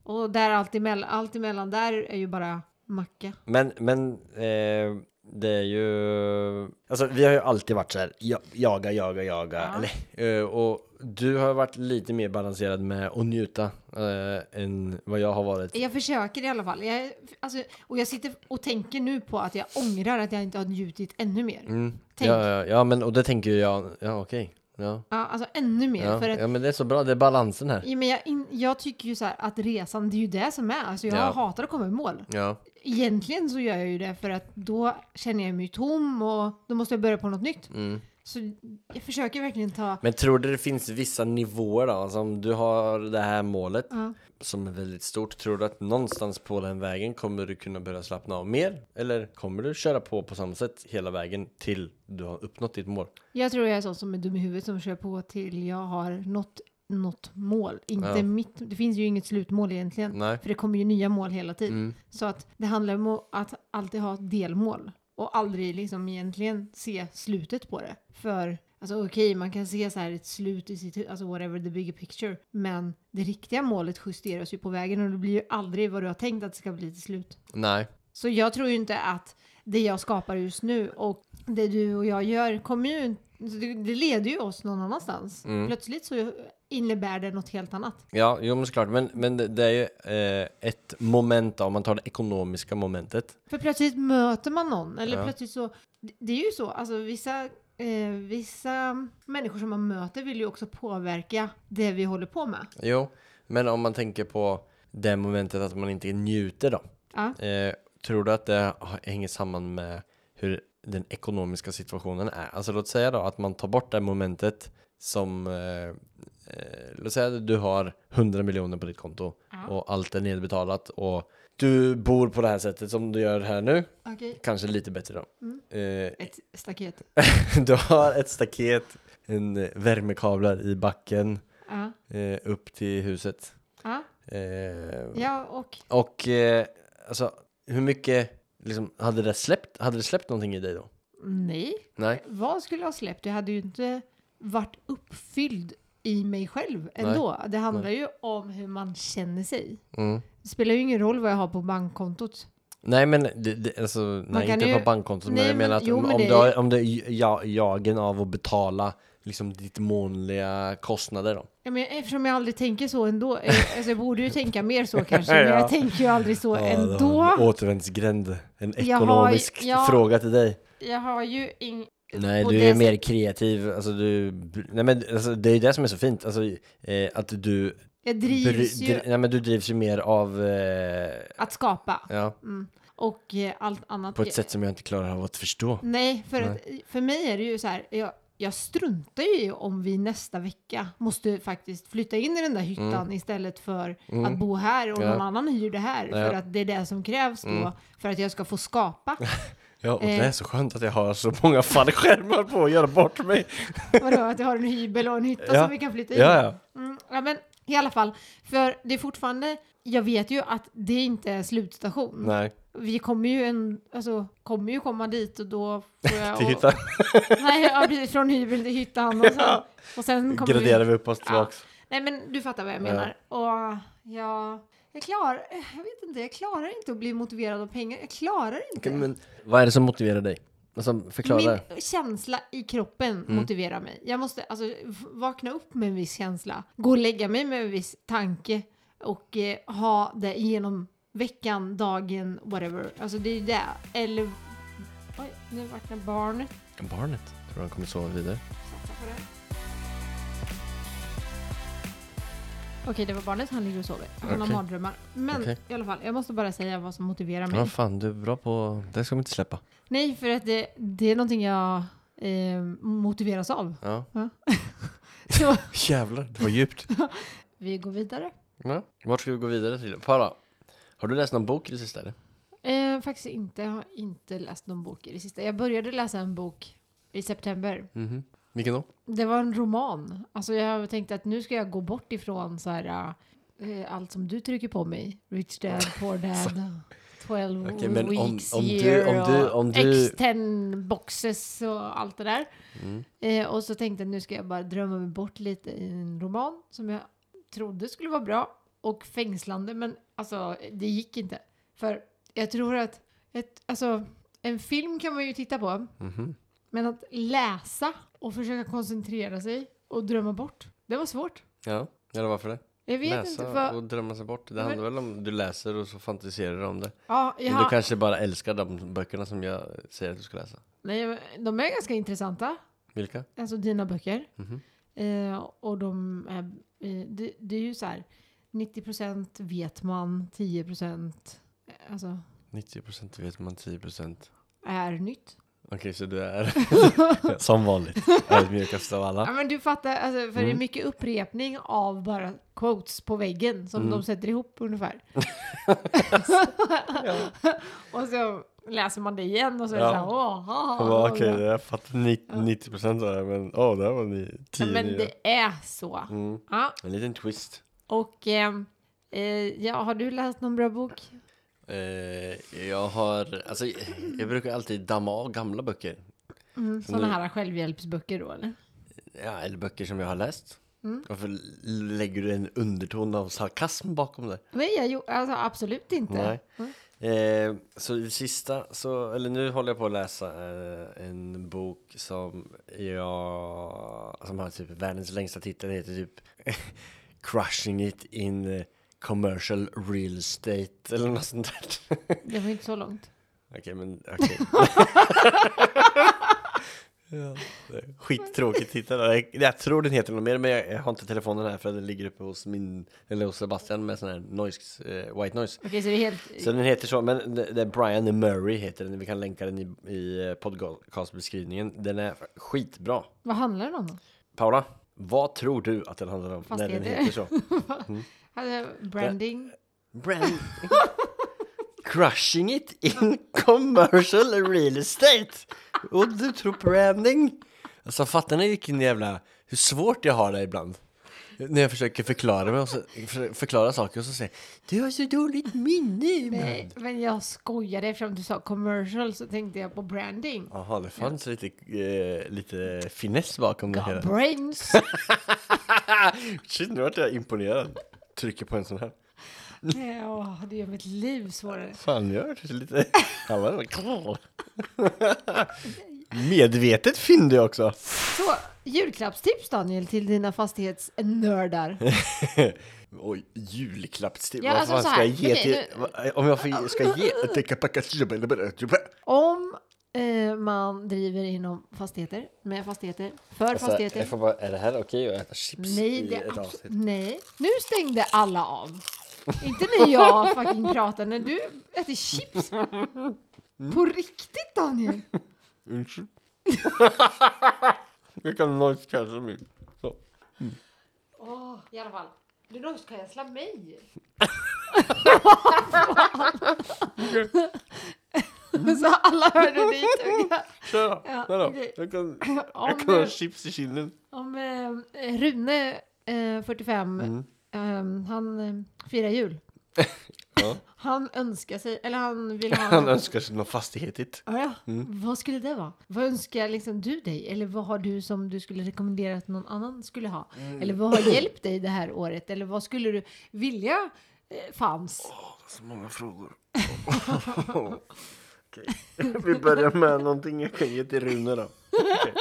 Och där allt emellan, allt emellan där är ju bara macka.
Men, men eh, det är ju... Alltså vi har ju alltid varit så här, ja- jaga, jaga, jaga.
Ja.
Eller, eh, och du har varit lite mer balanserad med att njuta eh, än vad jag har varit.
Jag försöker i alla fall. Jag, alltså, och jag sitter och tänker nu på att jag ångrar att jag inte har njutit ännu mer.
Mm.
Tänk.
Ja, ja, ja, men och det tänker ju jag, ja okej. Ja.
Ja, alltså ännu mer.
Ja.
För att
ja, men det är så bra, det är balansen här.
Ja, men jag, in, jag tycker ju så här att resan, det är ju det som är. Alltså jag
Ja.
hatar att komma i mål.
Ja,
Egentligen så gör jag ju det för att då känner jag mig tom och då måste jag börja på något nytt.
Mm.
Så jag försöker verkligen ta...
men tror du det finns vissa nivåer då? Alltså om du har det här målet
Ja.
som är väldigt stort, tror du att någonstans på den vägen kommer du kunna börja slappna av mer? Eller kommer du köra på på samma sätt hela vägen till du har uppnått ditt mål?
Jag tror jag är sån som är dum i huvudet som kör på till jag har nått något mål. Inte
Ja.
mitt, det finns ju inget slutmål egentligen.
Nej. Mm.
För det kommer ju nya mål hela tiden. Så att det handlar om att alltid ha ett delmål. Och aldrig liksom egentligen se slutet på det. För alltså okej, man kan se så här ett slut i sitt huvud, alltså whatever the bigger picture. Men det riktiga målet justeras ju på vägen och det blir ju aldrig vad du har tänkt att det ska bli till slut.
Nej.
Så jag tror ju inte att det jag skapar just nu och det du och jag gör kommer ju alltså, det det leder ju oss någon annanstans. Plötsligt så innebär det något helt annat.
Ja, jo men såklart. Men, men det, det är ju eh, ett moment då, om man tar det ekonomiska momentet.
För plötsligt möter man någon. Eller
Ja.
plötsligt så. det- Det är ju så. Alltså vissa, eh, vissa människor som man möter vill ju också påverka det vi håller på med.
Jo, men om man tänker på det momentet att man inte njuter då.
Ja.
Eh, tror du att det hänger samman med hur den ekonomiska situationen är? Alltså låt säga då att man tar bort det momentet som, eh, eh, låt säga att du har 100 miljoner på ditt konto
Ja.
och allt är nedbetalat och du bor på det här sättet som du gör här nu,
Okej.
kanske lite bättre då. Eh,
Ett staket.
du har ett staket, en eh, värmekablar i backen
Ja.
eh, upp till huset.
Ja.
Eh,
ja, och
och eh, alltså, hur mycket liksom, hade, det släppt, hade det släppt någonting i dig då?
nej.
Nej.
Vad skulle jag ha släppt? Jag hade ju inte varit uppfylld i mig själv ändå. Det handlar ju om hur man känner sig.
Mm.
Det spelar ju ingen roll vad jag har på bankkontot.
Nej men det, det, alltså, nej,
kan
inte
ju-
på bankkontot
Nej,
men jag
men-
menar att
jo,
om,
men
om,
det-
du har, om det är ja, jagen av att betala liksom ditt månliga kostnader då.
Ja, men eftersom jag aldrig tänker så ändå. eh, Alltså jag borde ju tänka mer så kanske. Men
Ja.
jag tänker ju aldrig så
En
ändå.
återvändsgränd, en
Jag har-
ekonomisk
ja.
fråga till dig.
Jag har ju ing...
Nej,
Och
du
det
är
som-
mer kreativ, alltså du, nej men alltså, det är ju det som är så fint, alltså eh, att du,
Jag drivs
dri,
ju
dri, nej men du drivs ju mer av, eh,
att skapa.
ja,
Och eh, allt annat.
på ett sätt som jag inte klarar av att förstå.
Nej, för, att, för mig är det ju så här. Jag, jag struntar ju i om vi nästa vecka måste faktiskt flytta in i den där hyttan istället för att bo här och
Mm. Ja.
någon annan hyr det här. För
Ja. Mm.
att det är det som krävs då för att jag ska få skapa.
Ja, och det
Eh.
är så skönt att jag har så många fallskärmar på att göra bort mig.
Vadå, att jag har en hybel och en hytta
Ja.
som vi kan flytta in i?
Ja, ja.
Mm, ja, men i alla fall. För det är fortfarande, jag vet ju att det inte är slutstation.
Nej,
Vi kommer ju, en, alltså, kommer ju komma dit och då får jag...
till hyttan
Nej, ja, precis, från hybeln till hyttan och sen,
Ja.
och sen kommer
graderar
vi...
vi upp oss tillbaks.
Nej, men du fattar vad jag menar. Och jag... Jag klarar, jag vet inte, jag klarar inte att bli motiverad av pengar. Jag klarar inte.
Men, vad är det som motiverar dig? Alltså, förklara.
Min känsla i kroppen motiverar mig. Jag måste alltså, v- vakna upp med en viss känsla, gå och lägga mig med en viss tanke och eh, ha det genom veckan, dagen, whatever. Alltså det är ju det. Eller... Oj, nu vaknar barnet.
Barnet. Tror han kommer sova vidare?
Satsa på det. Okej, det var barnet. Han ligger och sover. Han
Okej.
har mardrömmar. Men
Okej.
i alla fall, jag måste bara säga vad som motiverar mig.
Ja, fan, du är bra på... Det ska man inte släppa.
Nej, för att det, det är någonting jag eh, motiveras av.
Ja.
Så
Jävlar, det var djupt.
vi går vidare.
Ja. Vart ska vi gå vidare till? Para, har du läst någon bok i det sista eller?
Eh, faktiskt inte. Jag har inte läst någon bok i det sista. Jag började läsa en bok i september.
Mhm. Vilken då?
Det var en roman. Alltså jag tänkte att nu ska jag gå bort ifrån så här, eh, allt som du trycker på mig. Rich Dad, Poor Dad, 12
Okej, men om-
weeks
om du-
year
om du-
och
om du- Mm.
X10 boxes och allt det där. Eh, och så tänkte jag nu ska jag bara drömma mig bort lite i en roman som jag trodde skulle vara bra och fängslande. Men alltså det gick inte. För jag tror att ett, alltså, en film kan man ju titta på.
Mhm.
Men att läsa och försöka koncentrera sig och drömma bort, det var svårt.
Ja, eller varför det?
Jag vet
läsa
inte vad...
och drömma sig bort. Det
Men-
handlar väl om du läser och så fantiserar du om det.
Ja,
Men
jag har,
Du kanske bara älskar de böckerna som jag säger att du ska läsa.
nej, men de är ganska intressanta,
Vilka?
alltså dina böcker.
Mhm.
Eh, och de är... Eh, det, det är ju så här, 90% vet man, 10% eh, alltså,
90% vet man, 10%
är nytt.
Okej, så du är som vanligt ödmjukast av
Ja,
alla.
men du fattar, alltså, för
Mm.
det är mycket upprepning av bara quotes på väggen
Mm.
som de sätter ihop ungefär. och så läser man det igen och så är det
Ja.
så här, åh, ha,
Jag
ha,
bara,
ha,
Okej,
ha."
jag fattar ni- 90% av det, men åh, det här var ni, 10
Men
nya.
det är så.
Mm.
Ja,
En liten twist.
och ehm, eh, ja, har du läst någon bra bok?
Eh, jag har, alltså jag brukar alltid damma av gamla böcker.
Mm,
Så
sådana
nu-
här självhjälpsböcker då eller?
Ja, eller böcker som jag har läst.
Mm.
Varför lägger du en underton av sarkasm bakom det?
Nej, jag gjorde, alltså, absolut inte.
Nej.
Mm.
Eh, så det sista, så, eller nu håller jag på att läsa eh, en bok som jag, som har typ världens längsta titel, det heter typ Crushing it in eh, commercial real estate eller något sånt där.
Det var inte så långt.
Okej, men okej. ja, det är skittråkigt titel. Jag, jag tror den heter något mer, men jag, jag har inte telefonen här för den ligger uppe hos min, eller hos Sebastian med sån här noise, eh, white noise.
Okej, så det är helt...
Så den heter så, men det det är Brian Murray heter den. Vi kan länka den i, i eh, podcastbeskrivningen. Den är skitbra.
Vad handlar den om då?
Paula, vad tror du att den handlar om när den
Fastigheter.
heter så?
Alltså, Branding?
Brand... Crushing it in commercial real estate! Och du tror branding? Alltså fattar ni vilken jävla... Hur svårt jag har det ibland? När jag försöker förklara mig och så, för, förklara saker och så säger Du har så dåligt minne
Nej,
ibland!
Eh, men jag skojade eftersom du sa commercial så tänkte jag på branding.
Jaha, det fanns lite, eh, lite finess bakom det hela.
Ah, Brains!
Shit, nu vart jag imponerad. Trycker på en sån här.
Ja, Eh, det gör mitt liv svårare.
Fan, jag hörde lite... Han var- Medvetet fyndig också.
Så, julklappstips Daniel till dina fastighetsnördar.
Oj, julklappstips.
Ja,
Vad
alltså
fan
så
ska
här,
jag ge
okej,
till...
nu-
Va- Om jag får- ska ge...
Om eh, man driver inom fastigheter, med fastigheter, för fastigheter.
Alltså, jag får bara, är det här okej att äta chips
Nej,
i
det är
ett
abs-
avsnitt?
Nej, nu stängde alla av. Inte när jag fucking pratar, när du äter chips. På riktigt Daniel.
Vilken noise cancel mig. Så.
Åh, i alla fall. Du noise cancelar mig. Så alla hörde dit.
Kör då.
Ja,
Kör då.
okej.
Jag kan,
Om,
jag kan ha chips i kinden.
om eh, Rune, eh, 45,
Mm.
ehm, han eh, firar jul.
Ja.
Han önskar sig, eller han vill ha...
Han önskar Mm. sig någon fastighet hit.
Ja, ja. Vad skulle det vara? Vad önskar liksom du dig? Eller vad har du som du skulle rekommendera att någon annan skulle ha?
Mm.
Eller vad har hjälpt dig det här året? Eller vad skulle du vilja eh, fanns?
Åh, det är så många frågor. Okej. Vi börjar med någonting jag kan ge till Rune då. Okej.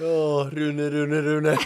Ja, Rune, Rune, Rune.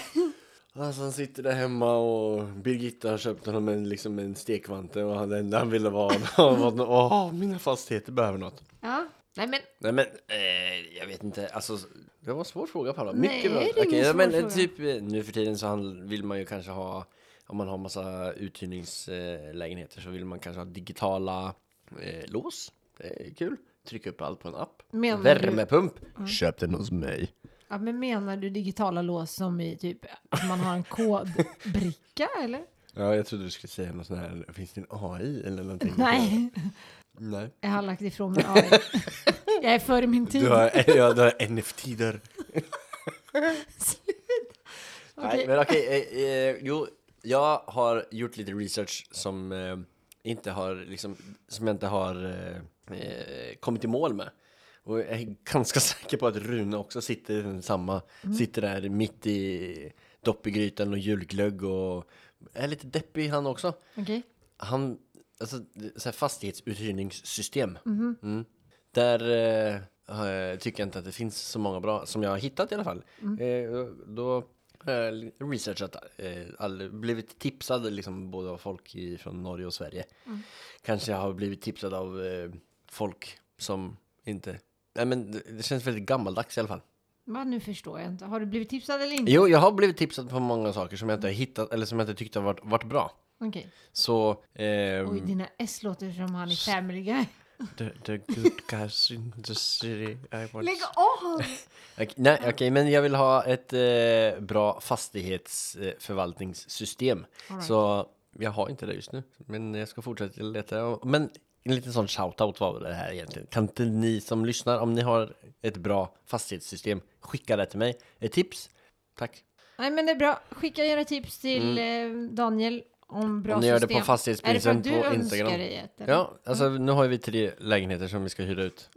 Alltså han sitter där hemma och Birgitta har köpt honom en, liksom en stekvante och han, det enda han ville vara var åh, mina fastigheter behöver något.
Ja. Nej men,
Nej men, eh, jag vet inte, alltså det var en svår fråga Paula,
Nej,
mycket
det är
bra
ingen
Okej, ja,
svår
men eh,
fråga.
typ eh, nu för tiden så handl- vill man ju kanske ha Om man har massa uthyrningslägenheter så vill man kanske ha digitala eh, lås Det är kul, trycka upp allt på en app
Menar du- Mm.
Värmepump, köp den hos mig
ja, men menar du digitala lås som i typ att man har en kodbricka eller?
Ja jag trodde du skulle säga något sånt här, finns det en AI eller någonting?
Nej,
Nej
jag har lagt ifrån mig AI. Jag är före min tid.
Du har, ja, du har NFT där Nej,
Okej.
men okej. eh, eh, jo, jag har gjort lite research som eh, inte har liksom, som jag inte har eh, eh, kommit i mål med. Och jag är ganska säker på att Rune också sitter i den samma, sitter där mitt i dopp i grytan och julglögg och är lite deppig han också.
Okej.
Han, alltså så här fastighetsuthyrningssystem. Mm. Där eh, eh, tycker jag inte att det finns så många bra som jag har hittat i alla fall. Eh, då har jag researchat, eh, all, blivit tipsad liksom både av folk i, från Norge och Sverige. Kanske jag har blivit tipsad av eh, folk som inte, nej men det, det känns väldigt gammaldags i alla fall.
Men nu förstår jag inte. Har du blivit tipsad eller inte?
Jo, jag har blivit tipsad på många saker som jag inte har hittat eller som jag inte tyckte har varit, varit bra.
Okej.
Så... ehm,
Oj, dina S låter som han i Family Guy.
The, the good guys in the city I want...
Lägg av!
Okej, nej, okej, men jag vill ha ett eh, bra fastighetsförvaltningssystem.
Alright.
Så jag har inte det just nu, men jag ska fortsätta leta. Men en liten sån shout-out var väl det här egentligen. Kan inte ni som lyssnar, om ni har ett bra fastighetssystem, skicka det till mig. Ett tips? Tack.
Nej men det är bra. Skicka era tips till eh, Daniel om bra
Mm. Om ni gör det
system.
på fastighetsprisen
Är det för att
på
du
Instagram.
önskar dig ett? eller?
Ja, alltså nu har ju vi tre lägenheter som vi ska hyra ut.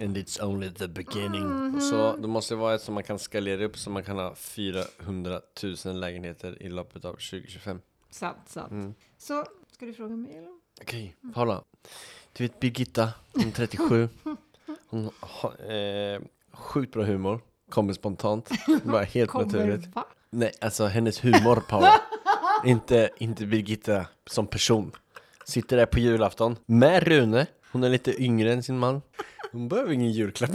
And it's only the beginning. Så det måste vara ett som man kan skalera upp så man kan ha 400 000 lägenheter i loppet av 2025.
Sant, sant.
Mm.
Så, ska du fråga mig eller?
Okej, Paula. Du vet Birgitta, hon är 37. Hon har eh, sjukt bra humor. Kommer spontant. Bara helt naturligt.
va?
Nej, alltså hennes humor Paula. inte, inte Birgitta som person. Sitter där på julafton med Rune. Hon är lite yngre än sin man. Hon behöver ingen julklapp.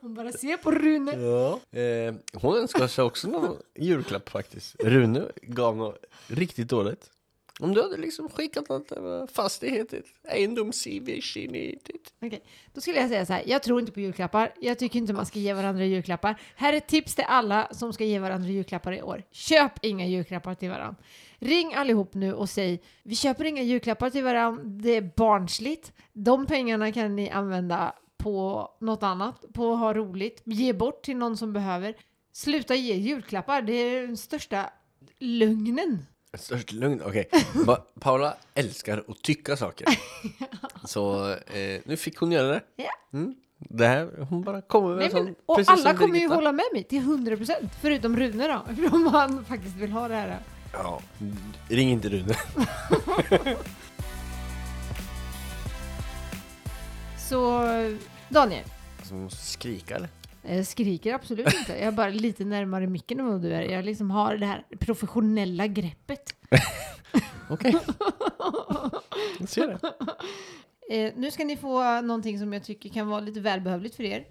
Hon bara ser på Rune.
Eh, hon önskar sig också någon julklapp faktiskt. Rune gav något riktigt dåligt. Om du hade liksom skickat något över fastigheter, egendomsivishinitet.
Okej, då skulle jag säga så här. Jag tror inte på julklappar. Jag tycker inte man ska ge varandra julklappar. Här är ett tips till alla som ska ge varandra julklappar i år. Köp inga julklappar till varandra. Ring allihop nu och säg vi köper inga julklappar till varandra. Det är barnsligt. De pengarna kan ni använda på något annat, på att ha roligt, ge bort till någon som behöver. Sluta ge julklappar. Det är den största lögnen.
Störst lugn, okej. Va- Paula älskar att tycka saker. Så eh, nu fick hon göra det.
Ja.
Mm. Det här, hon bara kommer med
Nej,
en
men,
sån,
och
precis
alla
som
kommer ju
Birgitta.
hålla med mig till 100% förutom Rune då, för om han faktiskt vill ha det här.
Ja, ring inte Rune.
Så Daniel,
Alltså, hon måste skrika eller?
jag skriker absolut inte. Jag är bara lite närmare micken än vad du är. Jag liksom har det här professionella greppet.
Okej. Jag ser det.
Eh, nu ska ni få någonting som jag tycker kan vara lite välbehövligt för er.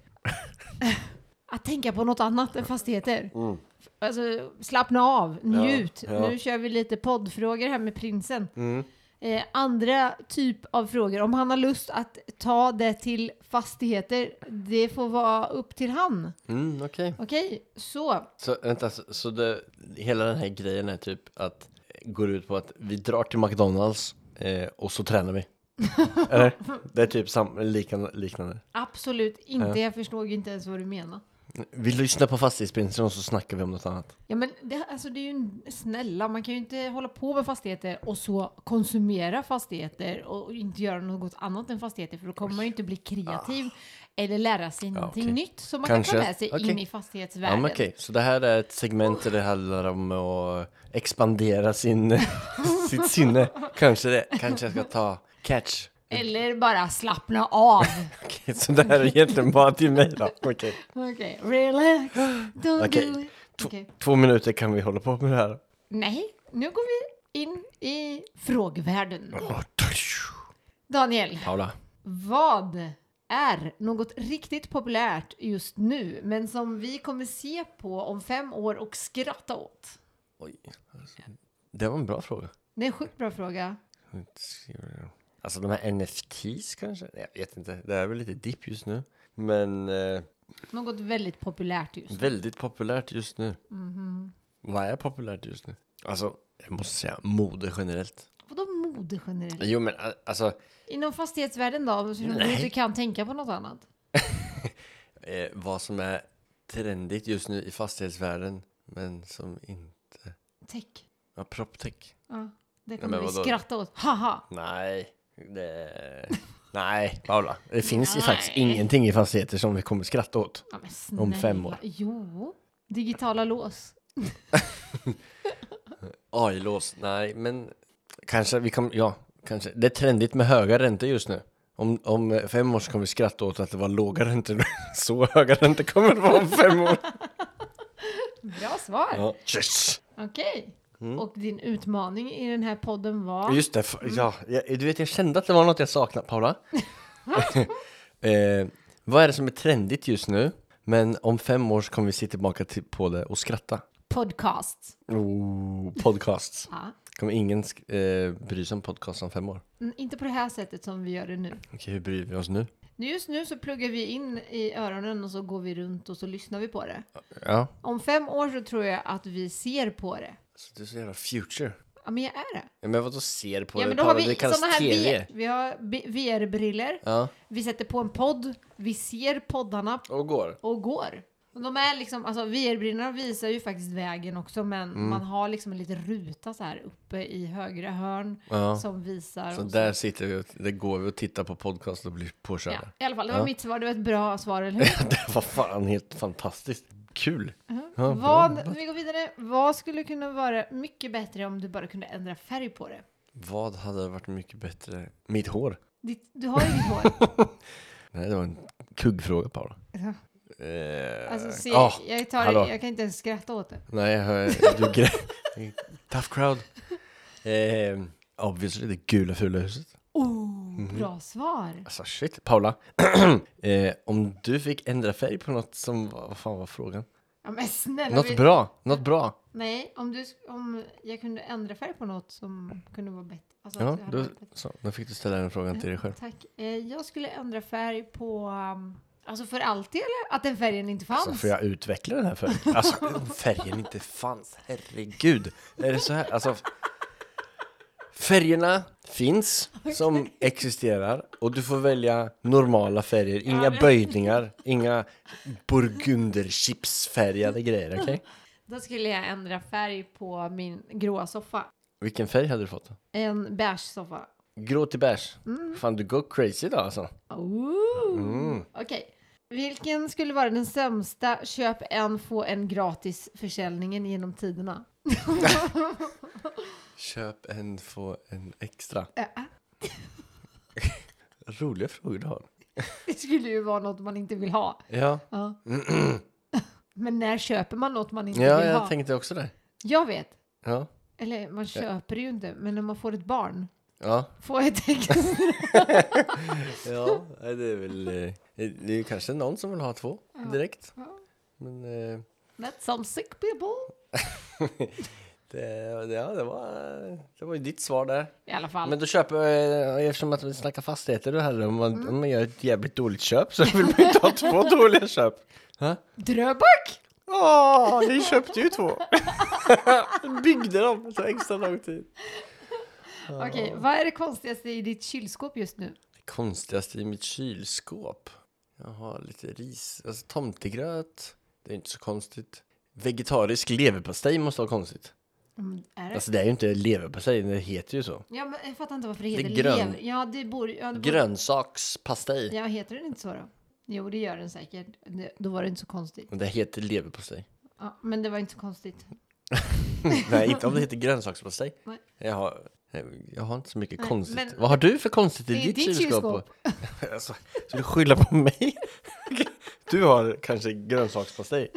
Att tänka på något annat än fastigheter.
Mm.
Alltså, slappna av, njut.
ja. Mm.
Nu kör vi lite poddfrågor här med prinsen. eh, andra typ av frågor. Om han har lust att ta det till fastigheter, det får vara upp till han.
Mm, okej.
Okej, så.
Så vänta, så, så det, hela den här grejen är typ att går ut på att vi drar till McDonalds eh, och så tränar vi. Eller? Det är typ sam, liknande, liknande.
Absolut inte, jag förstår ju inte ens vad du menar.
Vi lyssnar på Fastighetsprinsen och så snackar vi om något annat.
Ja men det, alltså det är ju en, snälla, man kan ju inte hålla på med fastigheter och så konsumera fastigheter och inte göra något annat än fastigheter för då kommer man ju inte bli kreativ eller lära sig någonting
Ah. okej.
nytt som man kan
Kanske.
ta med sig
Okej.
in i
Ja,
fastighetsvärlden.
men okej, så det här är ett segment där det handlar om att expandera sin, sitt sinne. Kanske det, kanske jag ska ta catch.
Eller bara slappna av.
Okej, så det här är egentligen bara till mig då. Okej,
Okej, relax. Don't
Okej.
do it.
Tv-
Okej.
två minuter kan vi hålla på med det här.
Nej, nu går vi in i frågvärlden. Daniel,
Paula.
vad är något riktigt populärt just nu men som vi kommer se på om fem år och skratta åt?
Oj. Det var en bra fråga.
Det är en sjukt bra fråga.
Alltså de här NFTs kanske? Jag vet inte. Det är väl lite dipp just nu. Men eh,
Något väldigt populärt just nu.
väldigt populärt just nu. Vad är populärt just nu? Mhm. Alltså, jag måste säga mode generellt.
Vadå mode generellt?
Jo men a- alltså,
Inom fastighetsvärlden då? Så du
Nej.
inte kan tänka på något annat?
eh, vad som är trendigt just nu i fastighetsvärlden. Men som inte...
Tech.
Ja, proptech.
Ja, det
men
kommer vi
vadå?
skratta åt. Haha!
Nej, det... Nej, Paula. Det finns ju faktiskt
Nej.
ingenting i fastigheter som vi kommer skratta åt.
Ja, men
Om fem
snälla.
år.
Jo. Digitala lås.
AI-lås, nej men kanske vi kommer, ja, kanske. Det är trendigt med höga räntor just nu. Om, om eh, fem år så kommer vi skratta åt att det var låga räntor. Så höga räntor kommer det vara om fem år.
Bra svar.
Ja. Yes.
Okej. Och din utmaning i den här podden var?
Just det, f- ja, jag, du vet jag kände att det var något jag saknade, Paula. eh, vad är det som är trendigt just nu? Men om fem år så kommer vi se tillbaka till, på det och skratta.
Podcast.
Oh, podcasts.
Ja.
Kommer ingen sk- eh, bry sig om podcast om fem år?
Mm, Inte på det här sättet som vi gör det nu.
Okej, hur bryr vi oss nu?
Nu- Just nu så pluggar vi in i öronen och så går vi runt och så lyssnar vi på det.
Ja.
Om fem år så tror jag att vi ser på det.
Så du är så jävla future.
Ja men jag är det.
Ja, men vadå ser på
Ja,
det?
men då
Paula?
har vi
det kallas
såna här
TV.
V- vi har B- VR-briller.
Ja.
Vi sätter på en podd. Vi ser poddarna
Och går.
och går. Och de är liksom, alltså VR-brillorna visar ju faktiskt vägen också men
Mm.
man har liksom en liten ruta så här uppe i högra hörn
Ja.
som visar.
Så
och
där sitter vi och där går vi och tittar på podcast och blir
så.
påkörda.
Ja, I alla fall, det var
Ja.
mitt svar. Det var ett bra svar, eller hur?
det var fan helt fantastiskt. Kul. Ja,
Mm-hmm. Vad, vi går vidare. Vad skulle kunna vara mycket bättre om du bara kunde ändra färg på det?
Vad hade varit mycket bättre? Mitt hår?
Ditt, du har ju ditt hår.
Nej, det var en kuggfråga Paula.
Ja.
Eh,
Alltså, se,
ah,
jag, tar,
hallå.
jag kan inte ens skratta åt det.
Nej, jag hör, du grä- Tough crowd. Eh, obviously, det gula fula huset. Mhm.
Oh, bra svar.
Alltså shit, Paula. eh, om du fick ändra färg på något som, var- vad fan var frågan?
Ja, men snälla. vi-
Något bra, något bra.
Nej, om, du, sk- om jag kunde ändra färg på något som kunde vara bättre. Alltså,
Ja,
att det hade
då,
varit bättre.
så, då fick du ställa den frågan till dig själv.
Tack. Eh, jag skulle ändra färg på... um, Alltså för alltid eller? Att den färgen inte fanns?
Alltså, får jag utveckla den här färgen? Alltså om färgen inte fanns, herregud. Är det så här? Alltså, färgerna finns, som existerar. Och du får välja normala färger, inga böjningar, inga burgunderchipsfärgade grejer, okej?
Då skulle jag ändra färg på min gråa soffa.
Vilken färg hade du fått? då?
En beige soffa.
Grå till bärs. Fan, du går crazy idag alltså.
Ooh.
Mm.
Okej. Vilken skulle vara den sämsta köp en få en gratis försäljningen genom tiderna?
Köp en, få en extra.
Äh,
Roliga frågor du har.
Det skulle ju vara något man inte vill ha.
Ja,
Ja. Men när köper man något man inte
ja
vill ha?
jag tänkte också det.
Jag vet.
Ja,
Eller man köper ju inte, men när man får ett barn.
ja.
Får ett extra.
ja nej, det är väl... eh, Det är ju kanske någon som vill ha två direkt. Men eh,
That's some sick people.
Det, ja, det var, det var ju ditt svar där.
I alla fall.
Men då köper, eh, eftersom att vi snackar fastigheter då här, om man, om man gör ett jävligt dåligt köp så vill man inte ha två dåliga köp. Ha?
Dröbak!
Åh, ni köpte ju två! Byggde dem, det tar extra lång tid.
Okej, vad är det konstigaste i ditt kylskåp just nu?
Det konstigaste i mitt kylskåp? Jag har lite ris, alltså tomtegröt. Det är inte så konstigt. Vegetarisk leverpastej måste vara konstigt.
Mm, är det?
Alltså det är ju inte leverpastej, det heter ju så.
Ja, men jag fattar inte varför det heter
grön.
lever. Ja, det borde... Ja, det borde
Grönsakspastej.
ja, heter den inte så då? Jo, det gör den säkert. Det, då var det inte så konstigt.
Och Det heter leverpastej.
Ja, men det var inte så konstigt.
Nej, inte om det heter grönsakspastej.
Nej.
Jag har, jag har inte så mycket
Nej,
konstigt.
men-
Vad har du för konstigt i
Det är
ditt,
ditt
kylskåp? alltså, ska du skylla på mig? du har kanske grönsakspastej.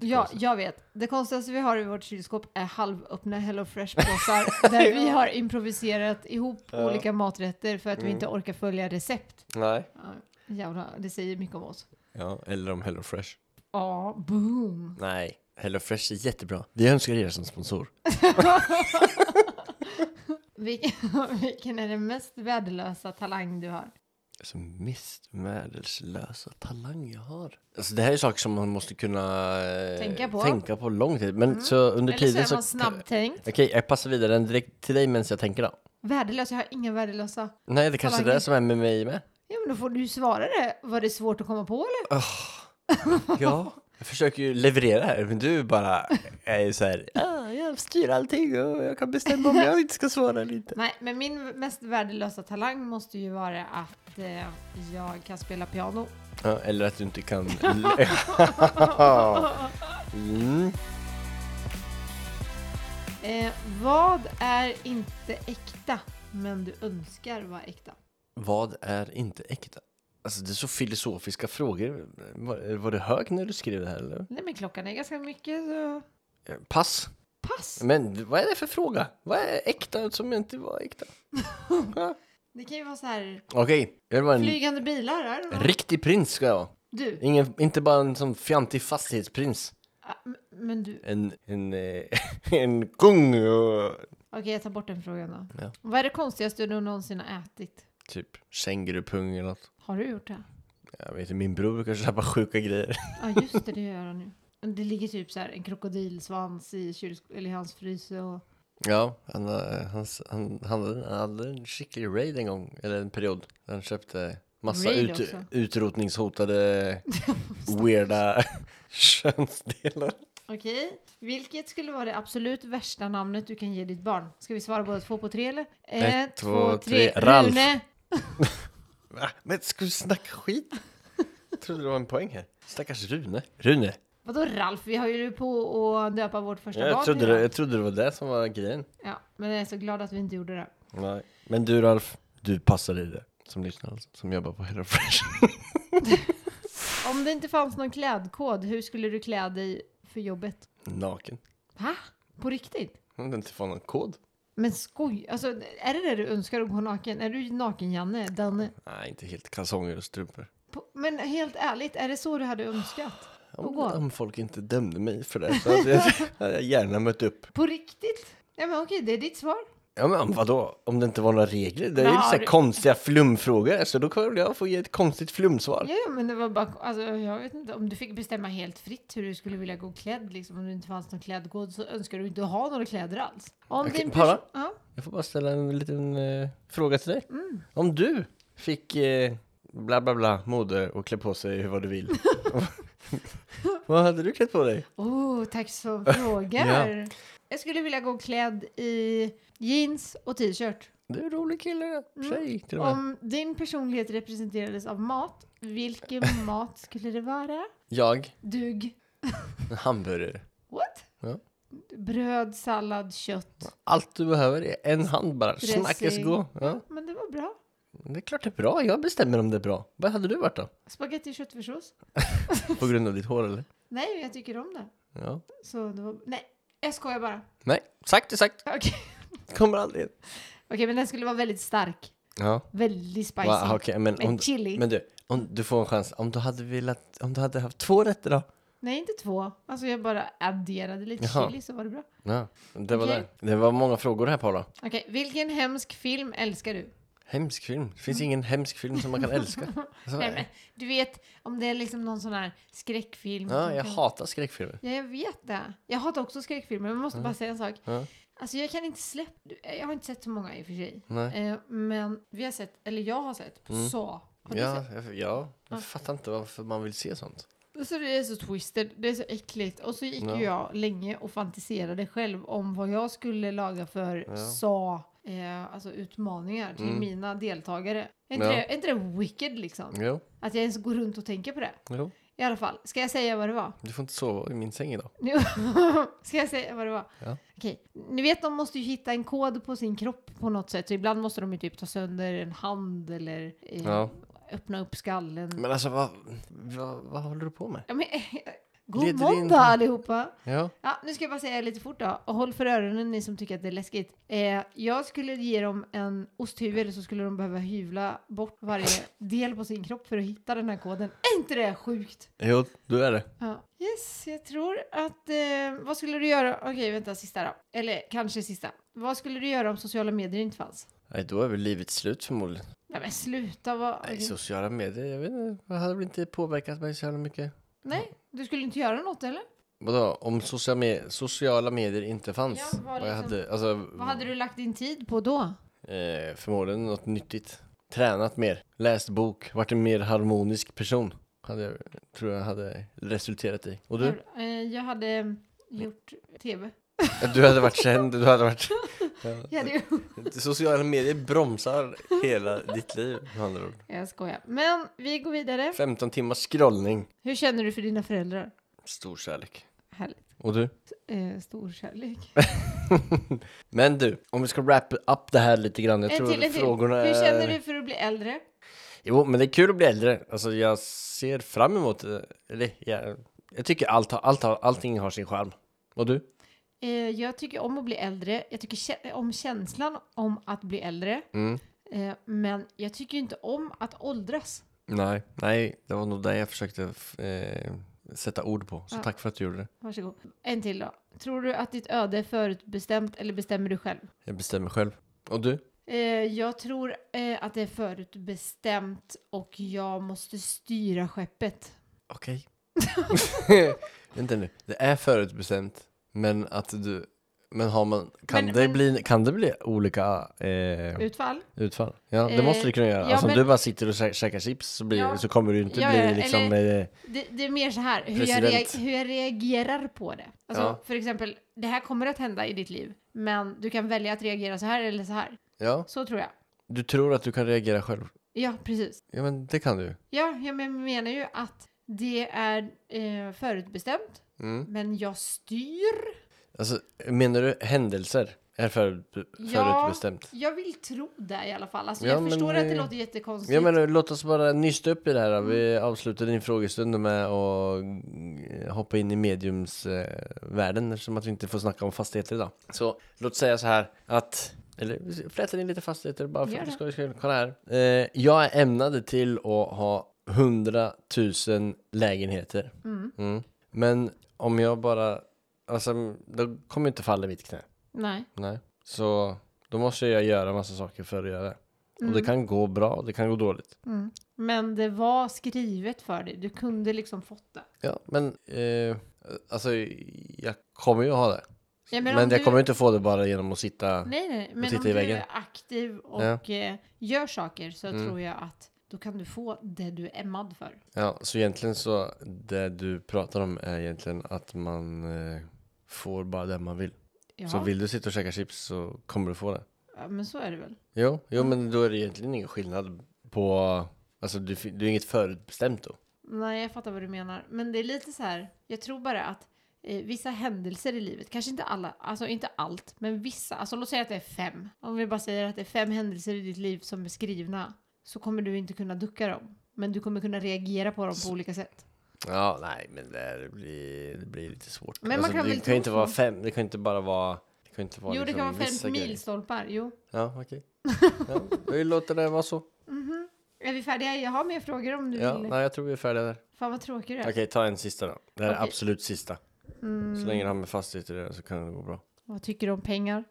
Ja, jag vet. Det konstigaste vi har i vårt kylskåp är halvöppna Hello Fresh-påsar där vi har improviserat ihop olika maträtter för att vi inte orkar följa recept.
Nej.
Mm. Ja, jävlar, det säger mycket om oss.
Ja, eller om Hello Fresh.
Ja, boom!
Nej, Hello Fresh är jättebra. Vi önskar er som sponsor.
Vilken, vilken är den mest värdelösa talang du har?
Alltså mest värdelslösa talang jag har. Alltså det här är saker som man måste kunna eh,
Tänka på. Mm.
tänka på lång tid. Men så under
Eller så
tiden
är
så...
man snabbtänkt.
Okej, jag passar vidare den direkt till dig medan jag tänker då.
Värdelös, jag har inga värdelösa.
Nej, det kanske är
Talanger.
det som är med mig med.
Ja, men då får du ju svara det. Var det svårt att komma på eller?
Ja, jag försöker ju leverera här, men du bara är ju så här. Ah, jag styr allting och jag kan bestämma om jag inte ska svara eller inte.
Nej, men min mest värdelösa talang måste ju vara att eh, jag kan spela piano.
Ja, eller att du inte kan... mm.
Eh, vad är inte äkta, men du önskar vara äkta?
Vad är inte äkta? Alltså det är så filosofiska frågor. Var, var det hög när du skrev det här eller?
Nej, men klockan är ganska mycket så...
Eh, Pass.
Pass!
Men vad är det för fråga? Vad är äkta som inte var äkta? Ja.
Det kan ju vara så här...
Okej, jag vill vara en
Flygande bilar, är det något?
riktig prins ska jag vara.
Du,
Ingen, inte bara en sån fjantig fastighetsprins.
ah, m- men du...
En, en, eh, en kung och
Okej, jag tar bort den frågan då.
Ja.
Vad är det konstigaste du någonsin har ätit?
typ kängurupung eller något.
Har du gjort det?
Jag vet inte, min bror brukar köpa sjuka grejer.
Ja, just det, det gör jag nu. Det ligger typ så här en krokodilsvans i, kyls- eller i hans frys och...
Ja, han, eh, han, han, han, hade- han hade en skicklig raid en gång, eller en period. där Han köpte massa
Raid
ut,
också.
utrotningshotade weirda könsdelar.
Okej. Vilket skulle vara det absolut värsta namnet du kan ge ditt barn? Ska vi svara båda två på tre eller?
Ett, två, tre. Ralf.
Rune!
Va? Men ska du snacka skit? Jag trodde det var en poäng här. Stackars Rune. Rune.
Vadå Ralf? Vi har ju på att döpa vårt första barn.
Jag trodde,
redan.
det, jag trodde det var det som var grejen.
Ja, men jag är så glad att vi inte gjorde det.
Nej. Men du Ralf, du passar i det. Som lyssnar alltså, som jobbar på Hello Fresh.
Om det inte fanns någon klädkod, hur skulle du klä dig för jobbet?
Naken.
Va? På riktigt?
Om du inte får någon kod.
Men skoj! Alltså, är det det du önskar att gå naken? Är du naken-Janne? Danne?
Nej, inte helt kalsonger och strumpor.
På- Men helt ärligt, är det så du hade önskat? Att
Om,
gå?
om folk inte dömde mig för det så hade jag, hade jag gärna mött upp.
På riktigt? Ja men okej, det är ditt svar.
Ja men om vadå? Om det inte var några regler? Det är ju
Men
så här
har-
konstiga flumfrågor så då kommer jag få ge ett konstigt flumsvar.
Ja, ja, men det var bara, alltså, jag vet inte, om du fick bestämma helt fritt hur du skulle vilja gå klädd, liksom, om det inte fanns någon klädkod så önskar du inte ha några kläder alls. Om
Okej,
din
Paula?
pers- ja,
Jag får bara ställa en liten eh, fråga till dig.
Mm.
Om du fick eh, bla bla bla mode och klä på sig vad du vill. vad hade du klätt på dig?
oh, tack som frågar. Jag skulle vilja gå klädd i jeans och t-shirt.
Du är en rolig kille, tjej till och med.
Mm. Om din personlighet representerades av mat, vilken mat skulle det vara?
Jag,
Dug.
en hamburgare.
What?
Ja.
Bröd, sallad, kött.
Allt du behöver är en hand bara.
Dressing.
Snackes gå. Ja.
Men det var bra.
Det är klart det är bra, jag bestämmer om det är bra. Vad hade du varit då?
Spagetti och köttfärssås.
På grund av ditt hår eller?
Nej, jag tycker om det.
Ja.
Så det var... Nej, jag skojar bara.
Nej, sagt är sagt.
Okej,
Kommer aldrig.
Okej, men den skulle vara väldigt stark.
Ja.
Väldigt spicy.
Wow, okay, men,
Med
om,
chili.
men du, om du får en chans. Om du hade velat, om du hade haft två rätter då?
Nej, inte två. Alltså jag bara adderade lite
Jaha.
chili så var det bra.
Ja, det var
Okej.
det. Det var många frågor här Paula.
Okej, vilken hemsk film älskar du?
Hemsk film. Det
Mm.
finns ingen hemsk film som man kan älska. Alltså,
Nej, men, du vet, om det är liksom någon sån här skräckfilm.
ja,
som
jag
kan-
hatar skräckfilmer.
Ja, jag vet det. Jag hatar också skräckfilmer, men jag måste bara säga en sak.
Ja.
Alltså jag kan inte släppa, jag har inte sett så många i och för sig.
Nej. Mm.
Eh, men vi har sett, eller jag har sett, så. Har du
Ja, jag, ja, jag fattar inte varför man vill se sånt.
sett? Så det är så twisted, det är så äckligt. Och så gick ju jag länge och fantiserade själv om vad jag skulle laga för sa, eh, alltså utmaningar till mina deltagare. Är inte,
Mm. Ja.
det, är inte det wicked liksom?
Jo,
Att jag ens går runt och tänker på det.
jo.
I alla fall, ska jag säga vad det var?
Du får inte sova i min säng idag.
Nu ska jag säga vad det var.
Ja.
Okej. Ni vet, de måste ju hitta en kod på sin kropp på något sätt. Så ibland måste de ju typ ta sönder en hand eller eh,
Ja.
öppna upp skallen.
Men alltså, vad, vad, vad håller du på med?
Ja, men, eh, God
Leder det
måndag
inte-
allihopa!
Ja,
Ja, nu ska jag bara säga lite fort då. Och håll för öronen ni som tycker att det är läskigt. Eh, jag skulle ge dem en osthuvud så skulle de behöva hyvla bort varje del på sin kropp för att hitta den här koden. Är inte det sjukt?
jo, du är det.
Ja. Yes, jag tror att... Eh, vad skulle du göra? Okej, vänta, sista då. Eller kanske sista. Vad skulle du göra om sociala medier inte fanns?
Nej, då är väl livet slut förmodligen.
Nej men sluta, vad...
Nej, sociala medier, jag vet inte. Det hade väl inte påverkat mig så jävla mycket.
Nej, du skulle inte göra något eller?
Vadå, om sociala, me- sociala medier inte fanns?
Ja, vad
jag
liksom-
hade, alltså,
Vad hade du lagt din tid på då?
Eh, förmodligen något nyttigt. Tränat mer, läst bok, varit en mer harmonisk person. Hade jag, tror jag hade resulterat i. Och du?
Eh, jag hade gjort tv.
Du hade varit känd, du hade varit...
Jag, hade, ju-
Sociala medier bromsar hela ditt liv med andra ord.
jag skojar. Men vi går vidare.
15 timmars scrollning.
Hur känner du för dina föräldrar?
Stor kärlek.
Härligt.
Och du?
Eh, stor kärlek.
Men du, om vi ska wrap up det här lite grann. Jag
En
tror
Eh, till, en
att
till.
frågorna
Hur
är...
känner du för att bli äldre?
Jo, men det är kul att bli äldre. Alltså jag ser fram emot det. Eller, jag, jag tycker allt, har- allt, har- allting har sin charm. Och du?
Eh, jag tycker om att bli äldre. Jag tycker kä- eh, om känslan om att bli äldre.
Mm.
Eh, men jag tycker ju inte om att åldras.
Nej, nej, det var nog det jag försökte f- eh, sätta ord på. Så
Ja.
tack för att du gjorde det.
Varsågod. En till då. Tror du att ditt öde är förutbestämt eller bestämmer du själv?
Jag bestämmer själv. Och du?
Eh, jag tror eh, att det är förutbestämt och jag måste styra skeppet.
Okej. Vänta nu. Det är förutbestämt, men att du... Men har man... Kan,
Men-
det,
men-
Bli, kan det bli olika eh,
Utfall?
utfall? Ja, det
Eh,
måste det kunna göra.
ja,
alltså,
men-
om du bara sitter och kä- käkar chips så, blir,
Ja.
så kommer du inte
Ja,
bli
ja,
liksom... eh,
Det, det är mer så här, hur jag,
President.
reag- hur jag reagerar på det. Alltså,
Ja.
För exempel, det här kommer att hända i ditt liv, men du kan välja att reagera så här eller så här.
ja,
Så tror jag.
du tror att du kan reagera själv.
Ja, precis.
Ja, men det kan du.
Ja, jag men- menar ju att det är eh, förutbestämt,
Mm.
men jag styr.
Alltså, menar du händelser? Är för, förutbestämt?
Jag vill tro det i alla fall. Alltså,
Ja,
jag
men,
förstår att det
eh,
låter jättekonstigt.
Ja, men eh, låt oss bara nysta upp i det här. då. Vi avslutade din frågestund med att eh, hoppa in i mediums eh, världen eftersom att vi inte får snacka om fastigheter idag. Så låt säga så här att eller vi flätar in lite fastigheter bara för
Gör
att det
det.
ska vara kul. Kolla här. Eh, jag är ämnade till att ha 100 000 lägenheter.
Mm.
Mm. Men om jag bara, alltså då kommer jag inte falla i mitt knä.
Nej.
Nej. Så då måste jag göra massa saker för att göra det. Och det kan gå bra och det kan gå dåligt.
Mm. Men det var skrivet för dig. Du kunde liksom fått det.
Ja, men eh, alltså jag kommer ju att ha det.
Ja,
Men,
om
jag
du...
kommer ju inte få det bara genom att sitta.
Nej, nej, men
titta
om
i
du
väggen. Mm.
är aktiv och eh, gör saker så tror jag att då kan du få det du är ämnad för.
Ja, så egentligen så det du pratar om är egentligen att man eh, får bara det man vill.
Ja,
Så vill du sitta och käka chips så kommer du få det.
ja, men så är det väl.
Jo, jo men då är det egentligen ingen skillnad på, alltså du, fi- du är inget förutbestämt då.
Nej, jag fattar vad du menar. Men det är lite så här, jag tror bara att eh, vissa händelser i livet, kanske inte alla, alltså inte allt, men vissa, alltså låt säga att det är fem. Om vi bara säger att det är fem händelser i ditt liv som är skrivna, så kommer du inte kunna ducka dem. Men du kommer kunna reagera på dem på olika sätt.
Ja, nej, men det, här blir, det blir lite svårt. Alltså,
Men man kan
det
väl
kan
tro
ju inte
så.
vara fem, det kan ju inte bara vara... Det kan ju inte vara
jo, det
liksom
kan vara
vissa
fem
grejer.
milstolpar, jo.
Ja, okej. Ja, vi låter det vara så.
Är vi färdiga? Jag har mer frågor om du
Ja,
vill.
nej, jag tror vi är färdiga där.
Fan vad tråkig du är.
Okej, ta en sista då. Det här är
Okej.
absolut sista. Så länge du har med fastigheter att göra så kan det gå bra.
Vad tycker du om pengar?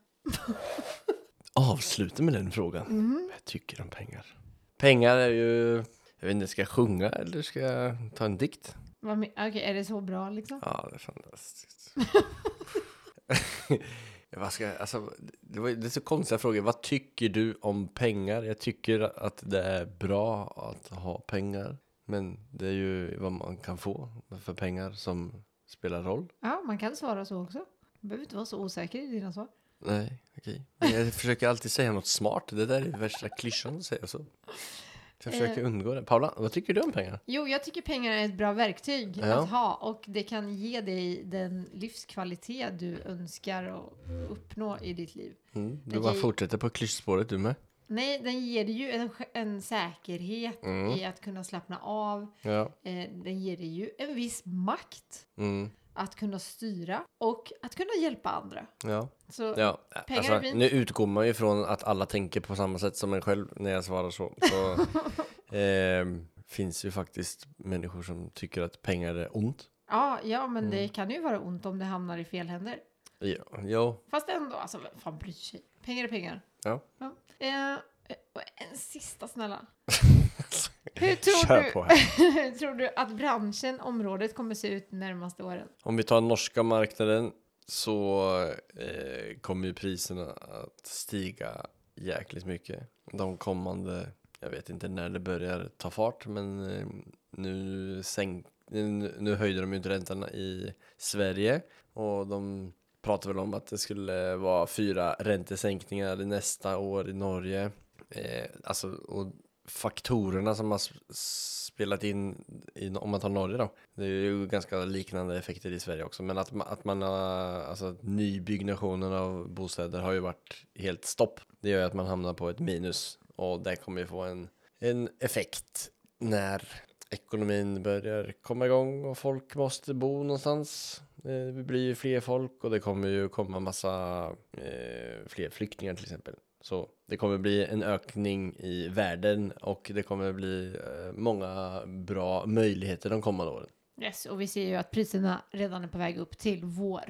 Avsluta med den frågan.
Mhm.
Jag tycker om pengar. Pengar är ju... Jag vet inte, ska jag sjunga eller ska jag ta en dikt?
Vad men- Okej, är det så bra liksom?
Ja, det är fantastiskt. Vad ska, jag- alltså, det, var, det är så konstiga frågor. Vad tycker du om pengar? Jag tycker att det är bra att ha pengar. Men det är ju vad man kan få för pengar som spelar roll.
Ja, man kan svara så också. Du behöver inte vara så osäker i dina svar.
Nej, okej. Men Jag försöker alltid säga något smart. Det där är värsta klyschan att säga så. Jag
Eh.
försöker undgå det. Paula, vad tycker du om pengar?
Jo, jag tycker pengar är ett bra verktyg
Ja.
att ha och det kan ge dig den livskvalitet du önskar och uppnå i ditt liv.
Mm, du
Jag
bara
kan-
fortsätter på klyschspåret du med.
Nej, den ger dig ju en, en säkerhet
Mm.
i att kunna slappna av.
Ja.
Eh, Den ger dig ju en viss makt
Mm,
att kunna styra och att kunna hjälpa andra.
ja.
Så
Ja,
Pengar är
alltså,
fint.
nu utgår man ju från att alla tänker på samma sätt som en själv när jag svarar så. så ehm, finns ju faktiskt människor som tycker att pengar är ont.
ja, ja men
Mm.
det kan ju vara ont om det hamnar i fel händer.
Ja, ja,
Fast ändå, alltså vem fan bryr sig? Pengar är pengar.
ja.
Ja. Eh, och en sista snälla. Hur tror,
Kör
du,
på här.
hur tror du att branschen, området kommer se ut närmaste åren?
Om vi tar norska marknaden så eh, kommer ju priserna att stiga jäkligt mycket. De kommande, jag vet inte när det börjar ta fart, men eh, nu, sänk, nu, nu höjde de ju inte räntorna i Sverige och de pratade väl om att det skulle vara fyra räntesänkningar nästa år i Norge. Eh, alltså, och faktorerna som har s- spelat in, i, om man tar Norge då, det är ju ganska liknande effekter i Sverige också, men att, ma- att man har, alltså att nybyggnationen av bostäder har ju varit helt stopp. Det gör ju att man hamnar på ett minus och det kommer ju få en, en effekt när ekonomin börjar komma igång och folk måste bo någonstans. Eh, Det blir ju fler folk och det kommer ju komma massa eh, fler flyktingar till exempel. Så det kommer bli en ökning i världen och det kommer bli eh, många bra möjligheter de kommande åren.
Yes, och vi ser ju att priserna redan är på väg upp till vår.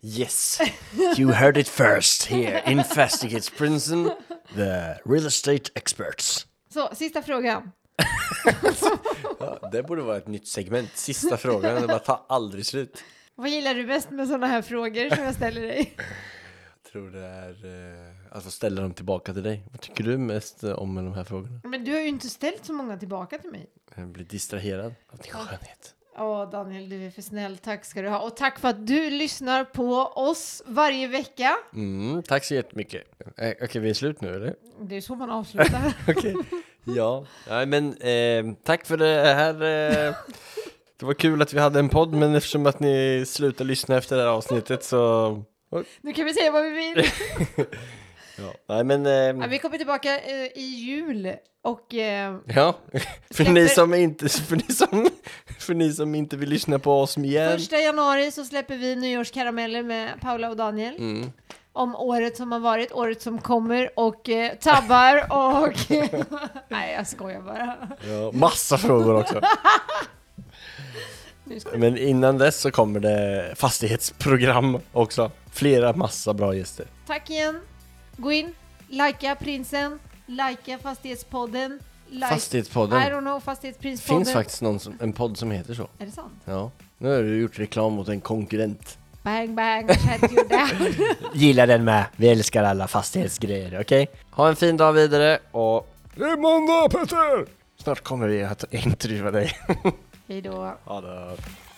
Yes, you heard it first here in Fastighets Prinsen, the real estate experts.
Så, sista frågan.
Ja, det borde vara ett nytt segment. Sista frågan, det bara tar aldrig slut.
Vad gillar du bäst med sådana här frågor som jag ställer dig?
Jag tror det är eh, att få ställa dem tillbaka till dig. Vad tycker du mest eh, om de här frågorna?
Men du har ju inte ställt så många tillbaka till mig.
Jag blir distraherad av din skönhet.
Åh, Daniel, du är för snäll. Tack ska du ha. Och tack för att du lyssnar på oss varje vecka.
Mm, tack så jättemycket. Eh, Okej, vi är slut nu eller?
Det är så man avslutar.
Okej. Ja, nej men eh, tack för det här. Eh, det var kul att vi hade en podd, men eftersom att ni slutade lyssna efter det här avsnittet så...
nu kan vi säga vad vi vill.
Ja. Nej men...
Ja,
Eh,
vi kommer tillbaka eh, i jul och eh,
ja, för
Släpper-
ni som inte... För ni som, för ni som inte vill lyssna på oss igen.
första januari så släpper vi nyårskarameller med Paula och Daniel
Mm.
om året som har varit, året som kommer och eh, tabbar och... Nej, jag skojar bara.
Ja, massa frågor också.
Nu ska-
Men innan dess så kommer det fastighetsprogram också. Flera massa bra gäster.
Tack igen. Gå in, likea prinsen, likea fastighetspodden. Like, I
Fastighetspodden.
don't know,
Det
fastighetsprinspodden.
finns faktiskt någon som, en podd som heter så.
Är det sant?
Ja. Nu har du gjort reklam mot en konkurrent.
Bang, bang, shut you down.
Gilla den med. Vi älskar alla fastighetsgrejer, okej? Ha en fin dag vidare och... Det är måndag Petter! Snart kommer vi att intervjua dig.
Hej då.
Ha det.